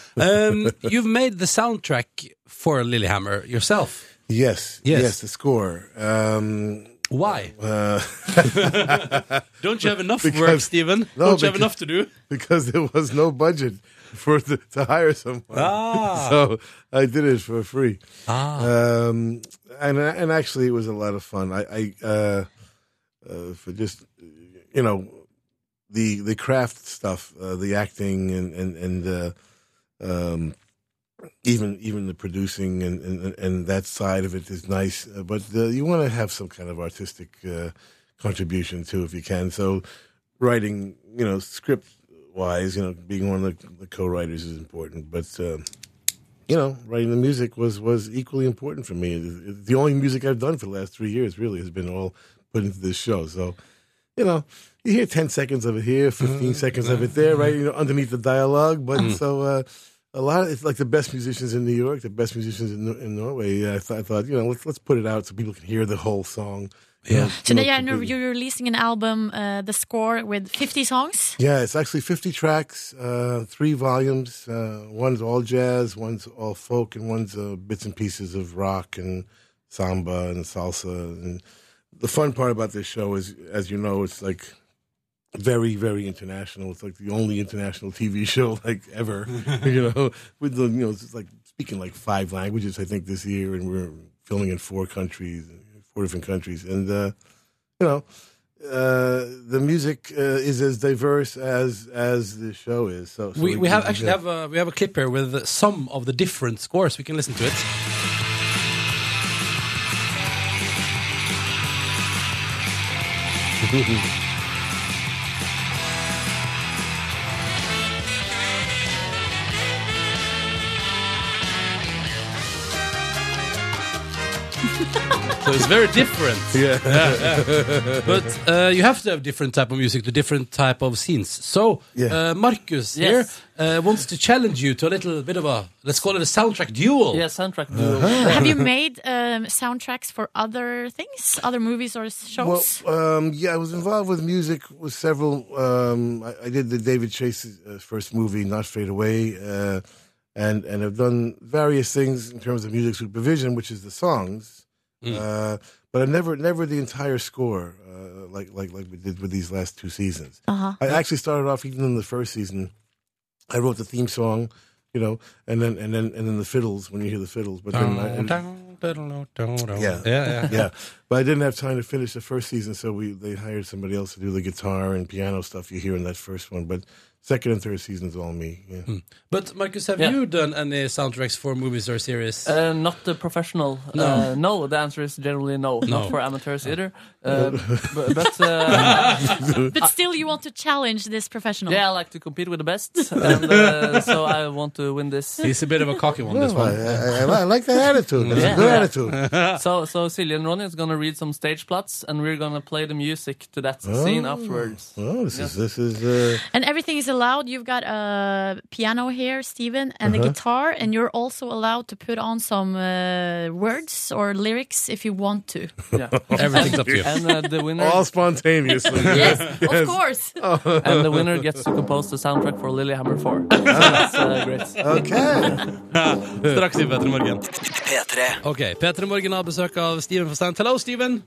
Um, you've made the soundtrack for Lilyhammer yourself.
Yes,
Yes.
yes, the score. Um,
Why?
uh,
Don't you have enough
Because-
work, Steven?
No,
Don't you have
because-
enough to do?
because there was no budget for the, to hire someone,
Ah.
so I did it for free.
Ah.
Um, and and actually, it was a lot of fun. I, I uh, uh, for just you know the the craft stuff, uh, the acting, and and and uh, um, even even the producing and, and and that side of it is nice. Uh, but uh, you want to have some kind of artistic uh, contribution too, if you can. So writing, you know, script wise, you know, being one of the, the co-writers is important, but. Uh, you know, writing the music was was equally important for me. It- it- The only music I've done for the last three years really has been all put into this show. So, you know, you hear ten seconds of it here, fifteen seconds of it there, right? You know, underneath the dialogue. But so uh, a lot of it's like the best musicians in New York, the best musicians in, Nor- in Norway. I, th- I thought, you know, let's let's put it out so people can hear the whole song. you
Yeah.
know,
So now
not
yeah, no,
completely.
you're releasing an album, uh, the score with 50 songs.
Yeah, it's actually 50 tracks, uh, three volumes. Uh, one's all jazz, one's all folk, and one's uh, bits and pieces of rock and samba and salsa. And the fun part about this show is, as you know, it's like very very international. It's like the only international TV show like ever, you know. With the you know, it's like speaking like five languages. I think this year, and we're filming in four countries, four different countries, and uh, you know, uh, the music uh, is as diverse as as the show is. So, so
We, we have
can-
actually have a, we have a clip here with some of the different scores. We can listen to it. so it's very different.
Yeah.
But uh, you have to have different type of music to different type of scenes. So
Yeah.
uh, Marcus
Yes.
here uh, wants to challenge you to a little bit of a let's call it a soundtrack duel.
Yeah, soundtrack.
Uh-huh.
Have you made um, soundtracks for other things, other movies or
Well,
shows?
um, yeah, I was involved with music with several. Um, I, I did the David Chase's uh, first movie, Not Fade Away, uh, and and I've done various things in terms of music supervision, which is the songs, uh, but I never never the entire score, uh, like like like we did with these last two seasons.
Uh-huh.
I actually started off even in the first season. I wrote the theme song, you know, and then and then and then the fiddles when you hear the fiddles, but
Oh,
then I, and-
Yeah,
Yeah.
yeah,
yeah, but I didn't have time to finish the first season, so we they hired somebody else to do the guitar and piano stuff you hear in that first one. But second and third season's all me. Yeah.
But Marcus, have
Yeah.
you done any soundtracks for movies or series?
Uh, not the professional. No. Uh, no, the answer is generally no. Not for amateurs either. Uh, but but uh,
but still, you want to challenge this professional.
yeah, I like to compete with the best, and uh, so I want to win this.
He's a bit of a cocky one. This
Well, I,
one.
I, I- I like that attitude. That's a good
Yeah.
attitude.
So so Silje and Ronny is gonna read some stage plots, and we're gonna play the music to that scene afterwards.
Well, Oh, this is this is uh,
And everything is allowed. You've got a piano here, Steven, and
Uh-huh.
a guitar, and you're also allowed to put on some uh, words or lyrics if you want to.
Yeah.
Everything's up to you.
And uh, the winner
all spontaneously.
yes, of course.
Uh,
and the winner gets to compose the soundtrack for Lilyhammer 4. So that's uh, great.
Okay.
Straks i P3 Morgen.
P3.
Ok, P3 Morgen har besøk av Steven Forstein. Hello, Steven.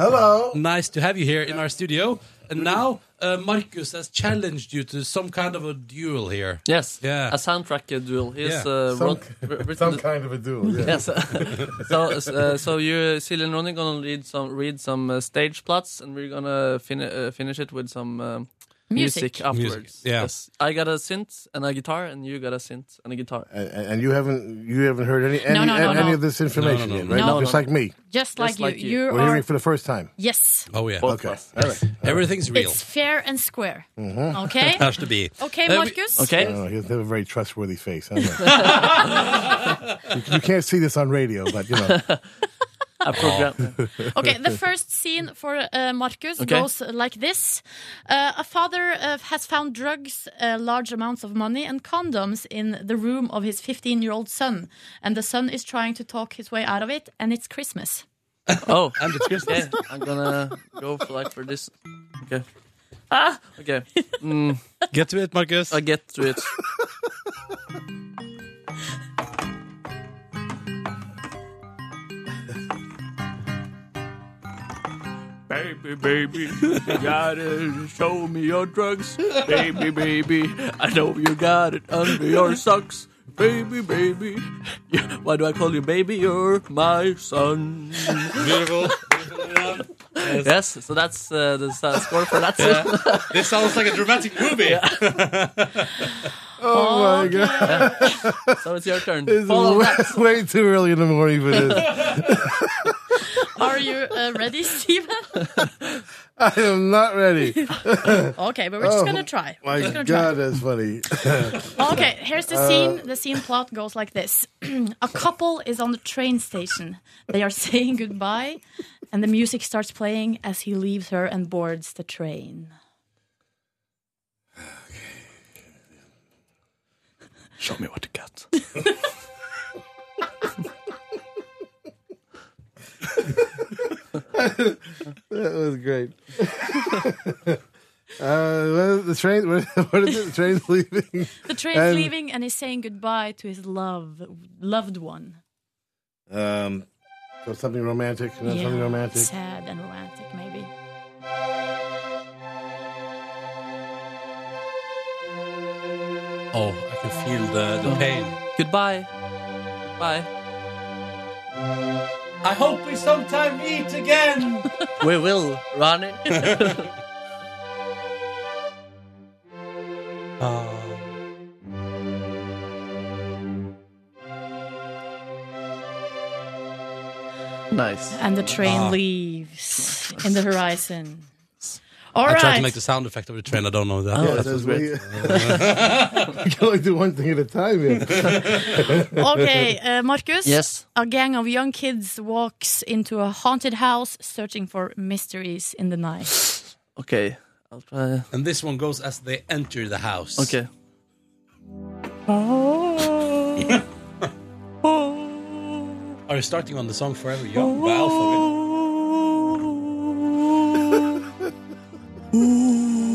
Hello.
Nice to have you here in our studio. And now uh, Marcus has challenged you to some kind of a duel here.
Yes,
Yeah.
a soundtrack uh, duel. He's
Yeah.
uh,
Some-
wrote, written
Some
the-
kind of a duel. Yeah.
Yes. so uh, so you, Silje and Ronny, gonna read some read some uh, stage plots, and we're gonna fin- uh, finish it with some um,
Music.
afterwards.
yeah.
Yes. I got a synth and a guitar, and you got a synth and a guitar.
And, and you haven't you haven't heard any any,
no, no,
any
no.
of this information
No, no, no,
yet, right?
no. No,
Just
no.
like me,
Just like you.
like you.
you.
we're
are.
hearing it for the first time.
yes.
Oh yeah.
Both
Okay.
of
All
us.
right.
Everything's real.
It's fair and square.
Uh-huh.
Okay?
Has to be.
Okay,
Uh, we-
Marcus?
Okay.
Oh, he doesn't have a very trustworthy face. Huh? you, you can't see this on radio, but you know.
A program.
Okay, the first scene for uh, Marcus
Okay.
goes like this: uh, A father uh, has found drugs, uh, large amounts of money, and condoms in the room of his 15-year-old son, and the son is trying to talk his way out of it, and it's Christmas.
Oh,
And it's Christmas.
okay. I'm gonna go for like for this. Okay. Ah. Okay.
Get to it, Marcus.
I get to it. Baby, baby, you gotta show me your drugs. Baby, baby, I know you got it under your socks. Baby, baby, yeah, why do I call you baby? You're my son.
Beautiful.
Yes, so that's uh, the s- score for that. scene.
this sounds like a dramatic movie.
Oh my god!
So it's your turn.
It's
Follow that.
way, way too early in the morning for this.
Are you uh, ready, Steven?
I am not ready.
Okay, but we're just gonna try. We're
My
just gonna
god, that's funny.
Okay, here's the scene. The scene plot goes like this A couple is on the train station. They are saying goodbye, and the music starts playing as he leaves her and boards the train.
Show me what you got.
That was great. Uh, well, the train. What, what is it? The train's leaving.
The train's
And-
leaving, and he's saying goodbye to his love, loved one.
Um, so something romantic. You know, something romantic.
Sad and romantic, maybe.
Oh, I can feel the, the pain.
Goodbye. Bye.
I hope we sometime meet again.
We will, Ronnie.
Ah.
nice.
And the train
Ah.
leaves in the horizon. All
I
right.
tried to make the sound effect of the train. I don't know that.
Oh.
Yeah, that's great. you can only do one thing at a time. Yeah.
okay, uh, Marcus.
Yes.
A gang of young kids walks into a haunted house searching for mysteries in the night.
Okay. I'll try.
And this one goes as they enter the house.
Okay.
Are you starting on the song Forever Young by
Oh.
Alphaville?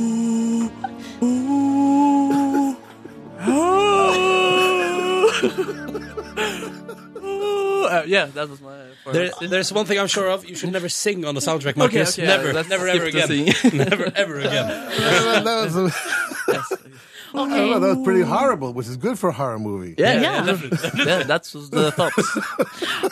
Uh, yeah, that was my. first.
There, there's one thing I'm sure of. You should never sing on the soundtrack, Marcus.
okay,
never,
let's
never,
skip
ever
the
again. never, ever again.
that, was, I don't know, that was pretty horrible, which is good for a horror movie.
yeah,
Yeah.
yeah, yeah, that's was the thoughts.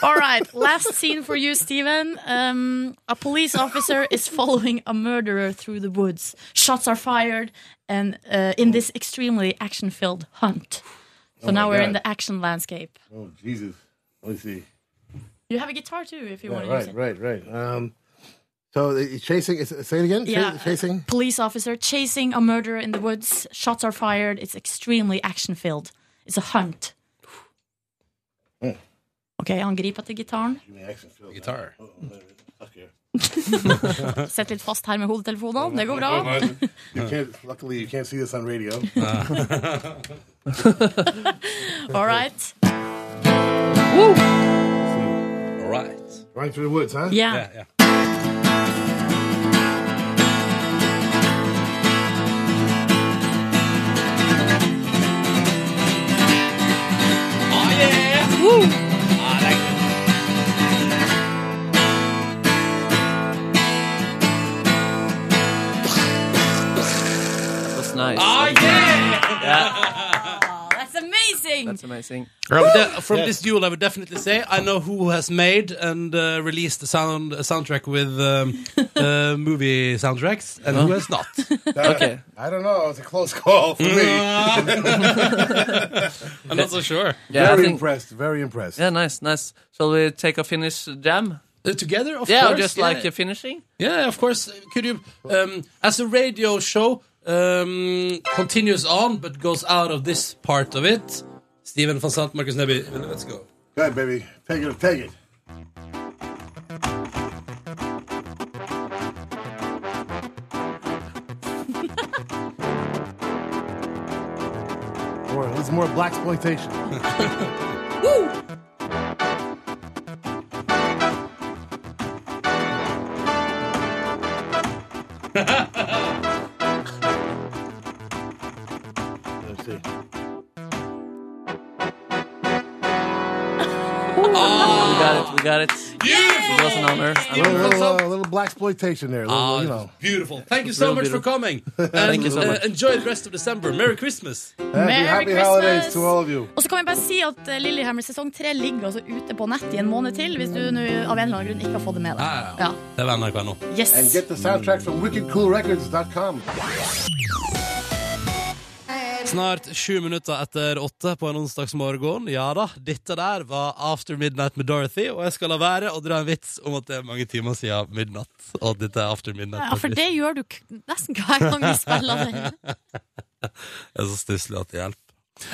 All right, last scene for you, Steven. Um, a police officer is following a murderer through the woods. Shots are fired, and uh, in this extremely action filled hunt. So now we're in
Oh God.
the action landscape.
Oh, Jesus. Let me see.
You have a guitar too if you
Yeah,
want to use
right,
it.
right, right. Um, so the- chasing. Is, say it again. Cha-
Yeah.
Chasing.
Police officer chasing a murderer in the woods. Shots are fired. It's extremely action filled. It's a hunt.
Hmm.
OK, angriper til gitaren.
Guitar.
Sett litt fast her med hodetelefonene. Det går bra.
You can't. Luckily, you can't see this on radio.
All right.
All right.
Running through the woods, huh?
Yeah.
Yeah, yeah. Oh, yeah. Woo. I like it.
That was nice.
That's amazing.
That's amazing.
I would de- from this duel, I would definitely say I know who has made and uh, released the sound a soundtrack with um, uh, movie soundtracks and who has not.
Okay.
I don't know. It was a close call for me.
I'm not so sure.
Yeah, I
very
think.
impressed. Very impressed.
Yeah, nice, nice. Shall we take a Finnish jam?
Uh, together, of
Yeah,
course.
just
yeah.
like a finishing.
Yeah, of course. Could you, um, as a radio show um, continues on but goes out of this part of it, Steven van Sant, Marcus Neby, let's go.
Good, baby. Take it. Take it. More, it's more black exploitation. Let's see.
We got it. We got it. It was an honor.
A little, little, uh, little black exploitation there. A little,
Ah,
you
it
know.
was beautiful. Thank you so
Real
much for
beautiful.
coming. And,
you so
uh,
much.
enjoy the rest of December. Merry Christmas.
Happy, happy
Merry
holidays
Christmas.
to all of you.
Og så kan vi bare si at eh, Lillehammer sesong 3 ligger altså ute på nett i en måned til, hvis du nå av en eller annen grunn ikke har fått det med
Ah,
deg.
ja.
Ja.
Det var NRK nå.
Yes.
And get the soundtrack from wickedcoolrecords.com.
Snart sju minutter etter åtte på en onsdagsmorgen. Ja da, dette der var After Midnight med Dorothy, og jeg skal la være å dra en vits om at det er mange timer siden midnatt, og at dette er After Midnight.
Ja, for det gjør du k- nesten hver gang vi spiller det.
Det er så stusslig at det hjelper.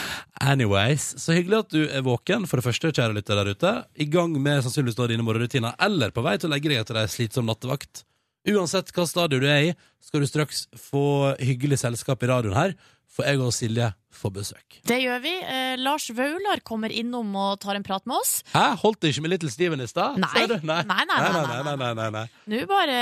Anyways, så hyggelig at du er våken, for det første, kjære lytter der ute. I gang med sannsynligvis nå dine morgenrutiner, eller på vei til å legge deg etter ei slitsom nattevakt. Uansett hva stadion du er i, skal du straks få hyggelig selskap i radioen her, for jeg og Silje får besøk.
Det gjør vi. Eh, Lars Vaular kommer innom og tar en prat med oss.
Hæ, holdt det ikke med Little Steven i stad?
Nei.
Ser du?
Nei, nei, nei,
nei, nei, nei, nei, nei.
Nå bare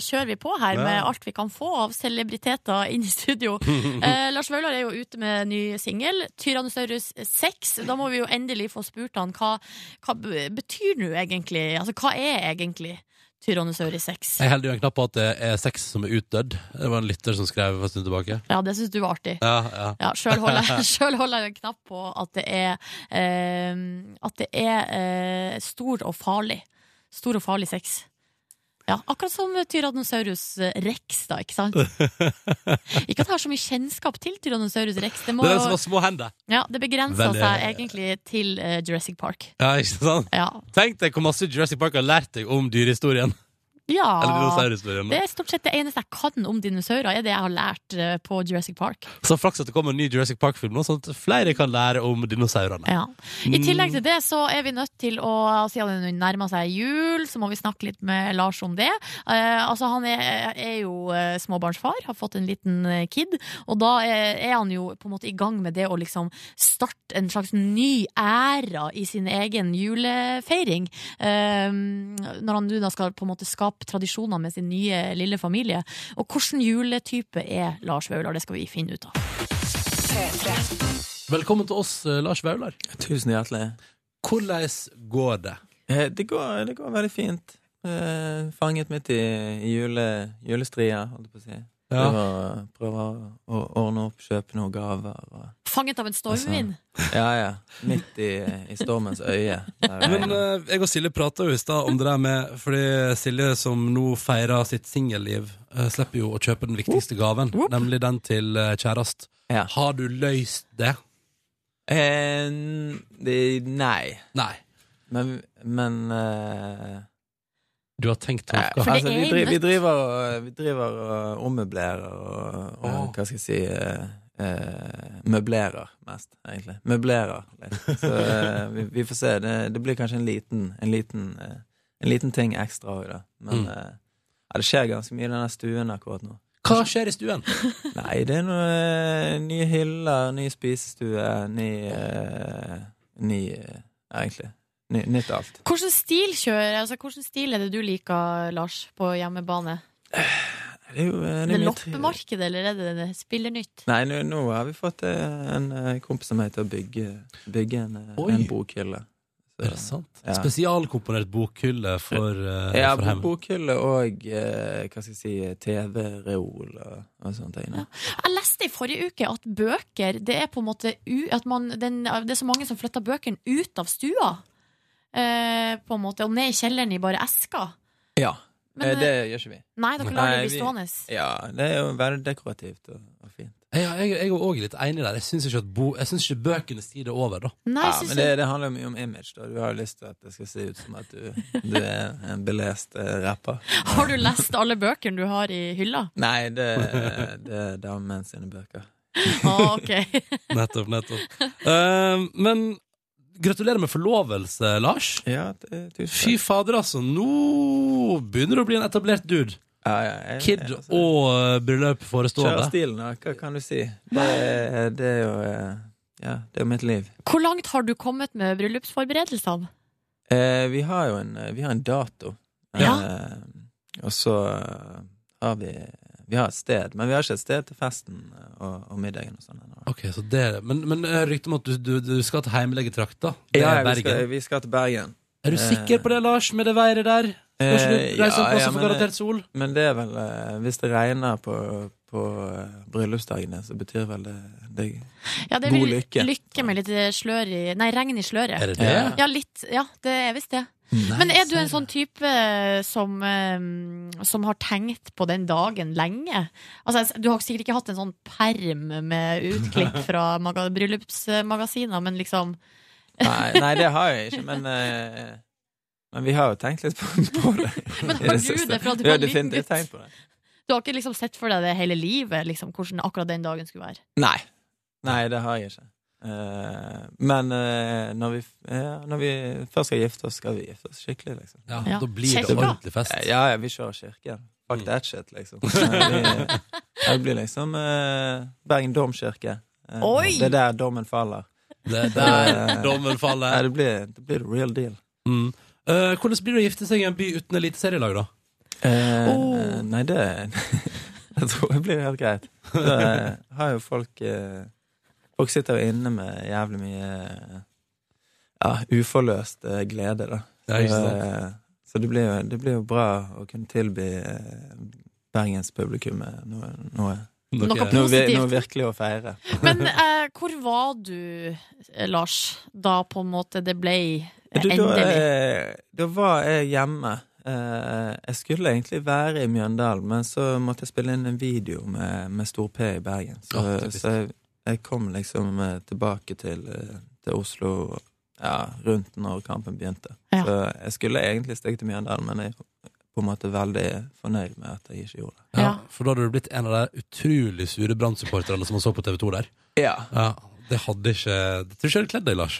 kjører vi på her med
Ja.
alt vi kan få av celebriteter inn i studio. Eh, Lars Vaular er jo ute med ny singel, 'Tyrannosaurus 6'. Da må vi jo endelig få spurt han hva, hva b- betyr nå egentlig? Altså, hva er egentlig Tyrannosaurus rex.
Jeg holder jo en knapp på at det er seks som er utdødd. Det var en lytter som skrev for en stund tilbake.
Ja, det syns du var artig.
Ja, ja.
Ja, Sjøl holder, jeg- selv holder jeg en knapp på at det er, eh, at det er eh, stor og farlig. Stor og farlig sex. Ja, Akkurat som Tyrannosaurus rex, da. Ikke sant? Ikke at jeg har så mye kjennskap til Tyrannosaurus rex. Det, må,
Det er den som har små hender.
ja, det begrenser
Veldig-
seg egentlig til eh, Jurassic Park.
Ja, ikke sant?
Ja.
Tenk deg hvor masse Jurassic Park har lært deg om dyrehistorien. Eller
ja.
dinosaurhistorien.
Det er stort sett det eneste jeg kan om dinosaurer, er det jeg har lært eh, på Jurassic Park.
Så flaks at det kommer en ny Jurassic Park-film, nå, sånn at flere kan lære om dinosaurene.
Ja. I tillegg til det så er vi nødt til å Siden det nærmer seg jul, så må vi snakke litt med Lars om det. Eh, altså Han er, er jo eh, småbarnsfar, har fått en liten eh, kid. Og da er, er han jo på en måte i gang med det å liksom starte en slags ny æra i sin egen julefeiring. Eh, når han nå da skal på en måte skape tradisjoner med sin nye lille familie. Og hvilken juletype er Lars Vaular? Det skal vi finne ut av.
Velkommen til oss, eh, Lars Vaular.
Tusen hjertelig.
Hvordan går det?
Eh, Det går, det går veldig fint. Eh, fanget midt i, i jule, julestria, holdt jeg på å si.
Ja.
Prøver, å- prøver å ordne opp, kjøpe noen gaver. Og,
Fanget av en stormvind.
ja, ja. Midt i, i stormens øye. Der er
Men eh, jeg og Silje prata jo i stad om det der med Fordi Silje, som nå feirer sitt singelliv, eh, slipper jo å kjøpe den viktigste gaven, nemlig den til eh, kjærest.
Ja.
Har du løst det?
Eh, det- nei.
Nei.
Men, men eh,
Du har tenkt tanker.
for det
altså,
er
vi,
jo
dri, vi,
nødt.
driver, og- vi driver og ommøblerer og, og
Åh.
hva skal jeg si eh, eh, Møblerer mest, egentlig. Møblerer litt. Så eh, vi, vi får se. Det, det blir kanskje en liten En liten, eh, en liten ting ekstra òg, da. Men
Mm.
eh, ja, det skjer ganske mye i den der stuen akkurat nå.
Hva skjer i stuen?
Nei, det er noe eh, nye hyller, ny spisestue, ny eh, Ny eh, Egentlig. Ny, nytt alt.
Hvilken stil kjører altså, Hvilken stil er det du liker, Lars, på hjemmebane?
Det er jo eh,
Er det
det er mye ty-
loppemarkedet, eller er det det spillernytt?
Nei, nå, nå har vi fått eh, en eh, kompis som heter å bygge, bygge en, eh,
Oi.
en bokhylle. Så-
Er det sant?
Ja.
Spesialkomponert bokhylle for, eh,
Ja,
for hjemmet.
bokhylle og eh, hva skal jeg si, TV-reol og, og sånne ting. da.
Jeg leste i forrige uke at bøker Det er på en måte u, at man, den, Det er så mange som flytter bøkene ut av stua. Eh, på en måte, Og ned i kjelleren i bare esker.
Ja,
Men,
eh, det gjør ikke vi.
Nei, dere lar
Nei,
det bli
vi-
stående.
Ja, Det er jo veldig dekorativt og, og fint.
Ja, jeg, jeg er òg litt enig der. Jeg syns ikke, at bo- jeg synes ikke bøkenes tid er over, da.
Nei,
Ja,
jeg synes
men det, det handler jo mye om image. da. Du har jo lyst til at det skal se ut som at du, du er en belest eh, rapper.
det- Har du lest alle bøkene du har i hylla?
Nei, det, det er damen sine bøker.
Ah, ok
Nettopp, nettopp. Eh, men gratulerer med forlovelse, Lars.
Ja, t- tusen takk.
Fy fader, altså. Nå begynner du å bli en etablert dude.
Ja, ja, jeg-
Kid
jeg- altså-
og eh, bryllup
Kjør
forestående.
stilen, da. Hva kan du si? Det, det er jo eh, Ja, det er jo mitt liv.
Hvor langt har du kommet med bryllupsforberedelsene?
Eh, vi har jo en, eh, vi har en dato. Eh, og så eh, har vi Vi har et sted, men vi har ikke et sted til festen eh, og, og middagen og sånn ennå.
Ok, så det er det. Men, men eh, ryktet om at du, du, du skal til hjemlegetrakta. Det
Ja,
er
vi
Bergen.
skal, vi skal til Bergen.
Er du sikker på det, Lars, med det været der? Skal ikke
Eh,
du reise
ja,
en plass
ja,
og få
men-
garantert sol?
Men det er vel eh, Hvis det regner på, på eh, bryllupsdagene, så betyr vel det, det
Ja, det
God
vil
lykke.
lykke med litt slør i Nei, regn i sløret.
Er det det?
Ja.
Ja, litt. Ja, det er visst det. Men er du en sånn type som, eh, som har tenkt på den dagen lenge? Altså, du har sikkert ikke hatt en sånn perm med utklipp fra maga- bryllupsmagasiner, men liksom
Nei, nei, det har jeg ikke, men eh, Men vi har jo tenkt litt på, på det.
Men
i
har du
siste.
det fra du
Vi har
var liten
definitivt
gutt?
tenkt på det.
Du har ikke liksom sett for deg det hele livet, liksom, hvordan akkurat den dagen skulle være?
Nei. Nei, det har jeg ikke. Eh, men eh, når, vi, f- ja, når vi først skal gifte oss, skal vi gifte oss skikkelig, liksom.
Ja,
Ja.
Da blir det
Kjekk, da.
ordentlig fest.
Eh, ja, ja, vi kjører kirken. Fuck that shit, liksom. Eh, vi, ja, det blir liksom eh, Bergen domkirke. Eh,
Oi!
Det er der dommen faller.
Det er der
Eh,
dommen
Nei,
faller.
det blir, det blir the real deal.
Mm. Eh, hvordan blir det å gifte seg i en by uten eliteserielag, da?
Eh,
Oh.
Nei, det Jeg tror det blir helt greit. Da eh, har jo folk eh, Folk sitter jo inne med jævlig mye eh, ja, uforløst eh, glede, da.
Ja, ikke sant?
Eh, Så, Så det blir, jo, det blir jo bra å kunne tilby eh, bergenspublikummet noe, noe,
Noe
noe,
positivt.
vi- noe virkelig å feire.
Men eh, hvor var du, eh, Lars, da på en måte det ble eh,
Du, da,
endelig?
eh, da var jeg hjemme. Eh, jeg skulle egentlig være i Mjøndalen, men så måtte jeg spille inn en video med, med Stor P i Bergen. Så,
Ja, typisk.
så jeg, jeg kom liksom eh, tilbake til, eh, til Oslo ja, rundt når kampen begynte.
Ja.
Så jeg skulle egentlig stikke til Mjøndalen, men jeg er på en måte veldig fornøyd med at jeg ikke gjorde det.
Ja, for da hadde du blitt en av de utrolig sure brannsupporterne som man så på TV 2 der.
Ja.
Ja, det hadde ikke Det tror jeg ikke hadde kledd deg, Lars.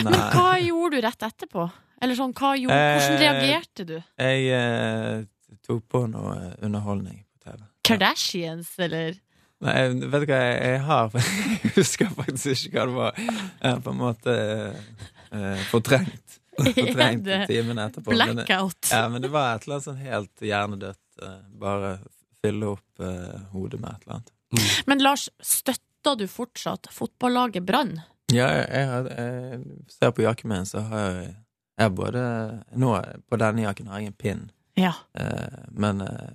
Nei.
Men hva gjorde du rett etterpå? Eller sånn, hva gjorde, hvordan
Eh,
reagerte du?
Jeg eh, tok på noe underholdning på TV.
Kardashians, eller?
Nei, jeg- vet du hva jeg, jeg har Jeg husker faktisk ikke hva det var. Jeg har på en måte eh, fortrengt, fortrengt
Er det
timen etterpå. Men,
Blackout.
det- ja, men det var et eller annet sånn helt hjernedødt. eh, bare fylle opp eh, hodet med et eller annet.
Men Lars, støtta du fortsatt fotballaget Brann?
Ja, jeg, jeg, har- jeg ser på jakken min, så har jeg, jeg har både Nå, på denne jakken har jeg en pin,
Ja.
eh, men eh,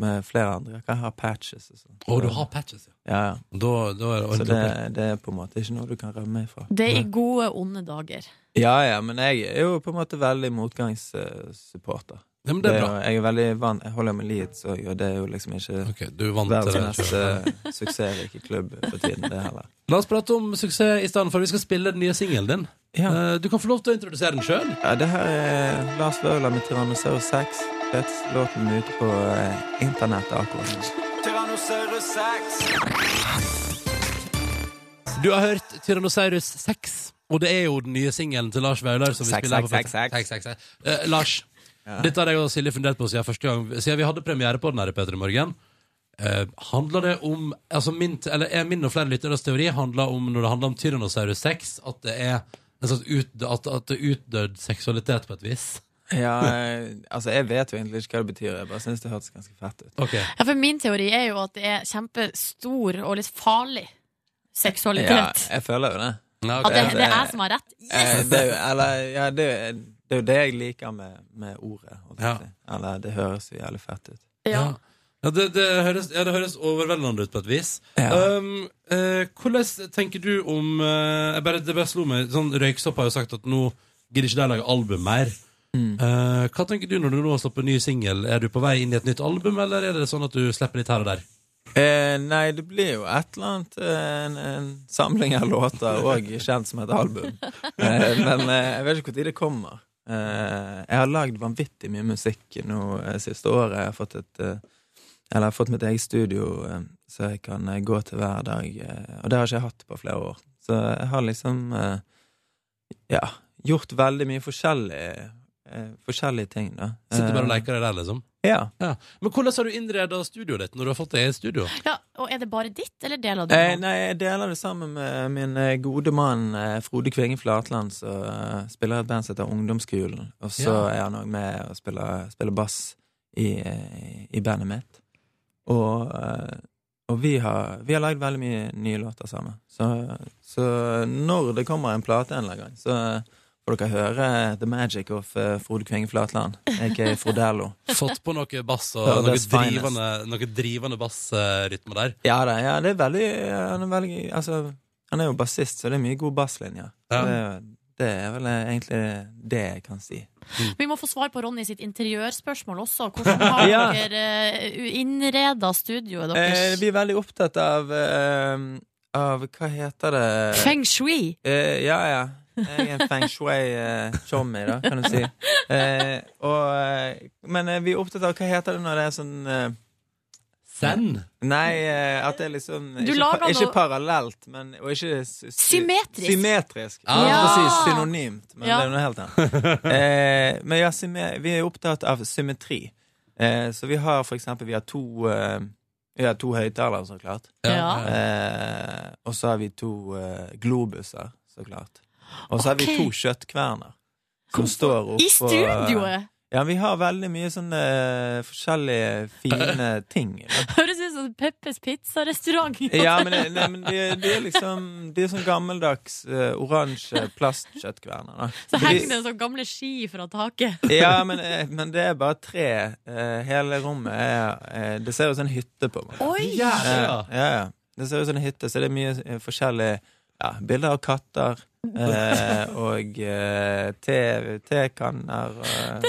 med flere andre jakker har jeg patches og sånn.
Å, du har patches, ja.
Ja, ja.
Da, da er det
Så
ordentlig opp.
det, det er på en måte ikke noe du kan rømme ifra.
Det er i gode, onde dager.
Ja, ja, men jeg er jo på en måte veldig motgangssupporter.
Ja, men det er
jo-
bra.
Jeg er veldig vant, jeg holder med Leeds òg, og det er jo liksom ikke
Ok, du er vant til
verdens
det.
mest
selv.
eh, suksessrike klubb for tiden, det heller.
La oss prate om suksess i stedet for. Vi skal spille den nye singelen din.
Ja.
Eh, Du kan få lov til å introdusere den sjøl.
ja, det her er Lars Vaular med Tyrannosaurus 6. Dette låten er ute på eh, internettet akkurat nå.
Tyrannosaurus Rex.
Du har hørt Tyrannosaurus 6, og det er jo den nye singelen til Lars Vaular. som vi
Sex,
spiller her på
sex,
Petra-
sex,
sex, sex, sex. Eh, Lars, dette har jeg og Silje fundert på siden første gang Siden vi hadde premiere på den her i Peter i morgen. eh, handler det om altså min, Eller er min og flere lytteres teori handler om når det handler om Tyrannosaurus 6, at det er en slags utdød, at, at det er utdødd seksualitet på et vis?
Ja, eh, altså, jeg vet jo egentlig ikke hva det betyr, jeg bare syns det hørtes ganske fett ut.
Ok,
Ja, for min teori er jo at det er kjempestor og litt farlig
Ja,
seksualitet.
jeg føler jo det.
Nei,
At
ok.
det, det er jeg som har rett.
Eh,
Yes!
det, er jo, eller, ja, det, er jo- det er jo det jeg liker med, med ordet. holdt jeg
Ja.
på å si. Eller det høres jo jævlig fett ut.
Ja.
Ja. Ja, det, det høres, ja, det høres overveldende ut på et vis.
Ja.
Um, eh, hvordan tenker du om eh, jeg bare, Det bare slo meg sånn, Røyksopp har jo sagt at nå gidder ikke de lage album mer.
Mm.
Eh, hva tenker du når du nå har sluppet ny singel? Er du på vei inn i et nytt album, eller er det sånn at du slipper litt her og der?
Eh, nei, det blir jo et eller annet eh, En, en samling av låter òg kjent som et album. Eh, men eh, jeg vet ikke når det kommer. Eh, jeg har lagd vanvittig mye musikk nå eh, siste året. Jeg har fått et eh, Eller jeg har fått mitt eget studio, eh, så jeg kan eh, gå til hver dag. Eh, og det har ikke jeg hatt på flere år. Så jeg har liksom eh, Ja, gjort veldig mye forskjellig. Eh, forskjellige ting, da.
Sitter bare og
Eh,
leker deg der, liksom.
Ja.
Ja. Men hvordan har du innreda studioet ditt når du har fått det i studio?
Ja, og er det bare ditt, eller deler du
Eh,
noe?
nei, jeg deler det sammen med min eh, gode mann eh, Frode Kvinge Flatland, som eh, spiller i et band som heter Ungdomsskolen. Og så
Ja.
er han òg med og spiller, spiller bass i, eh, i bandet mitt. Og, eh, og vi har, vi har lagd veldig mye nye låter sammen. Så, så når det kommer en plate en eller annen gang, så eh, får dere høre The Magic of eh, Frode Kvinge Flatland, aka Frodello.
Fått på noe bass og
Ja,
noe
that's finest.
drivende, noe drivende bassrytme der?
Ja, da, ja det er veldig, han, er veldig altså, han er jo bassist, så det er mye god basslinjer.
Ja.
Så Det, er- det er vel egentlig det jeg kan si.
Vi må få svar på Ronny sitt interiørspørsmål også. Hvordan har
Ja.
dere innreda studioet
Eh,
deres?
vi er veldig opptatt av, eh, av Hva heter det?
Feng shui!
Eh, ja, ja. Jeg er en feng shui-chommy, da, kan du si. Eh, og, eh, men eh, vi er opptatt av Hva heter det når det er sånn eh,
Zen?
Nei, eh, at det er liksom
Du
ikke,
lager
pa-
noe-
ikke parallelt, men og ikke sy- sy-
Symmetrisk.
Symmetrisk.
Ah.
Ja.
Ja.
Precis, synonymt, men
Ja.
det er noe helt annet. eh, men ja, symme- vi er opptatt av symmetri. Eh, så vi har for eksempel vi har to, eh, vi har to høyttalere, så klart.
Ja.
Eh, og så har vi to eh, globuser, så klart. Og så har
Ok.
vi to kjøttkverner. Som står oppå
I studioet!
Ja, vi har veldig mye sånne eh, forskjellige fine ting. da.
Høres ut som sånn Peppes pizzarestaurant.
Ja, men, det- nei, men de, de er liksom De er sånn gammeldags eh, oransje plastkjøttkverner. da.
Så
Men de-
henger det sånn gamle ski fra taket.
Ja, men, eh, men det er bare tre. Eh, Hele rommet er eh, Det ser ut som en hytte, på meg.
Oi!
Ja, ja, ja. Det ser ut som en hytte, så det er mye eh, forskjellige ja, bilder av katter. Eh, og eh, te- tekanner og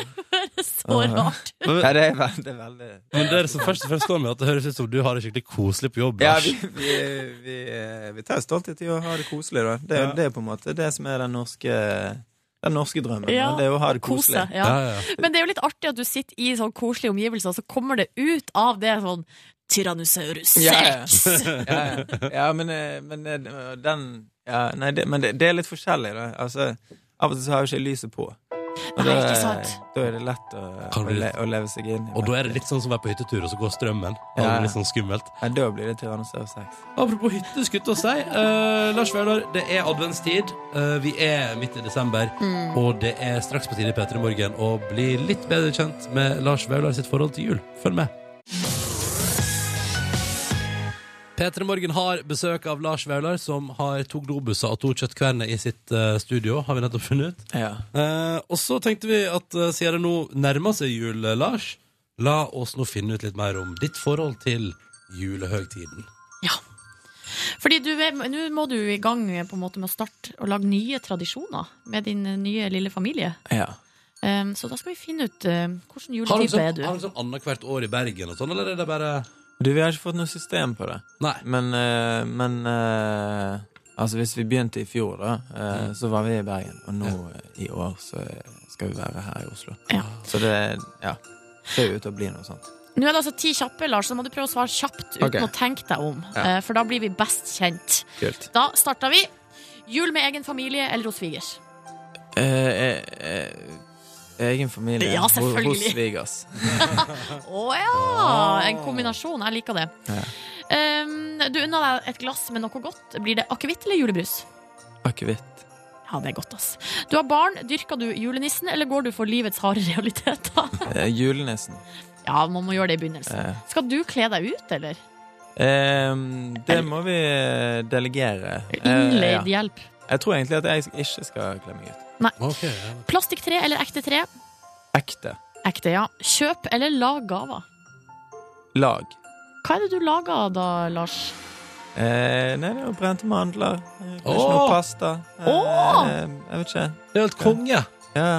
Så rart.
Ja, det er, veld, det er veldig
Men det er som først og fremst står med at det høres ut som du har det skikkelig koselig på jobb.
Ja,
Lars.
vi, vi, vi, eh, vi tar jo stolthet i å ha det koselig, da. Det, er-
Ja.
det er på en måte det som er den norske den norske drømmen.
Ja,
da. Det er å ha det
kose,
koselig.
ja. Men det er jo litt artig at du sitter i sånn koselige omgivelser, og så kommer det ut av det sånn Tyrannosaurus rex!
Ja, ja. ja, ja men, eh, men eh, den ja, Nei, det, men det, det er litt forskjellig. Da. Altså, av og til så har jo ikke lyset på.
Nei,
Og da-
ikke sant.
Da er det lett å,
Kan
å,
bli-
le, å leve seg inn i.
Og da er det litt sånn som å være på hyttetur, og så går strømmen. Da
Ja.
er det litt sånn skummelt.
Ja, da blir det Tyrannosaurus rex.
Apropos hytte, skutt å si. eh, Lars Vaular, det er adventstid. Eh, vi er midt i desember,
Mm.
og det er straks på tide Peter i morgen å bli litt bedre kjent med Lars Vaular sitt forhold til jul. Følg med. Peter i morgen har besøk av Lars Vaular, som har to globuser og to kjøttkverner i sitt eh, studio, har vi nettopp funnet ut.
Ja.
Eh, og så tenkte vi at eh, siden det nå nærmer seg jul, eh, Lars, la oss nå finne ut litt mer om ditt forhold til julehøgtiden.
Fordi du er- nå må du i gang eh, på en måte med å starte å lage nye tradisjoner med din eh, nye lille familie.
Ja.
Um, så da skal vi finne ut eh, hvilken
Har de
juletype
sånn,
er du.
har de sånn annethvert år i Bergen og sånn, eller er det bare
Du, vi har ikke fått noe system på det.
Nei.
Men, eh, men eh, Altså, hvis vi begynte i fjor, da, eh, så var vi i Bergen. Og nå eh, i år så skal vi være her i Oslo.
Ja.
Så det ja, ser jo ut til å bli noe sånt.
Nå er det altså ti kjappe, Lars, så da må du prøve å svare kjapt uten
Ok.
å tenke deg om.
Ja.
eh, For da blir vi best kjent.
Kult.
Da starter vi. Jul med egen familie eller hos svigers?
Eh, eh, eh, egen familie.
Ja,
Ho-
selvfølgelig.
Hos svigers.
Å ja! En kombinasjon. Jeg liker det.
Ja.
Um, du unner deg et glass med noe godt. Blir det akevitt eller julebrus?
Akevitt.
Ja, det er godt, ass. Du har barn. Dyrker du julenissen, eller går du for livets harde realiteter?
Eh, julenissen.
ja, man må gjøre det i begynnelsen.
Eh,
Skal du kle deg ut, eller?
ehm, det må vi eh, delegere. Eh,
Innleid
ja.
hjelp.
Jeg tror egentlig at jeg ikke skal kle meg ut.
Ok, ja.
Plastikktre eller ekte tre?
Ekte.
Ekte, ja. Kjøp eller lag gaver?
Lag.
Hva er det du lager da, Lars?
Eh, nei, det er jo brente mandler. Eh, Kanskje
Åh!
noe pasta. Eh,
Åh!
Jeg vet ikke.
Det er jo helt konge!
Ja,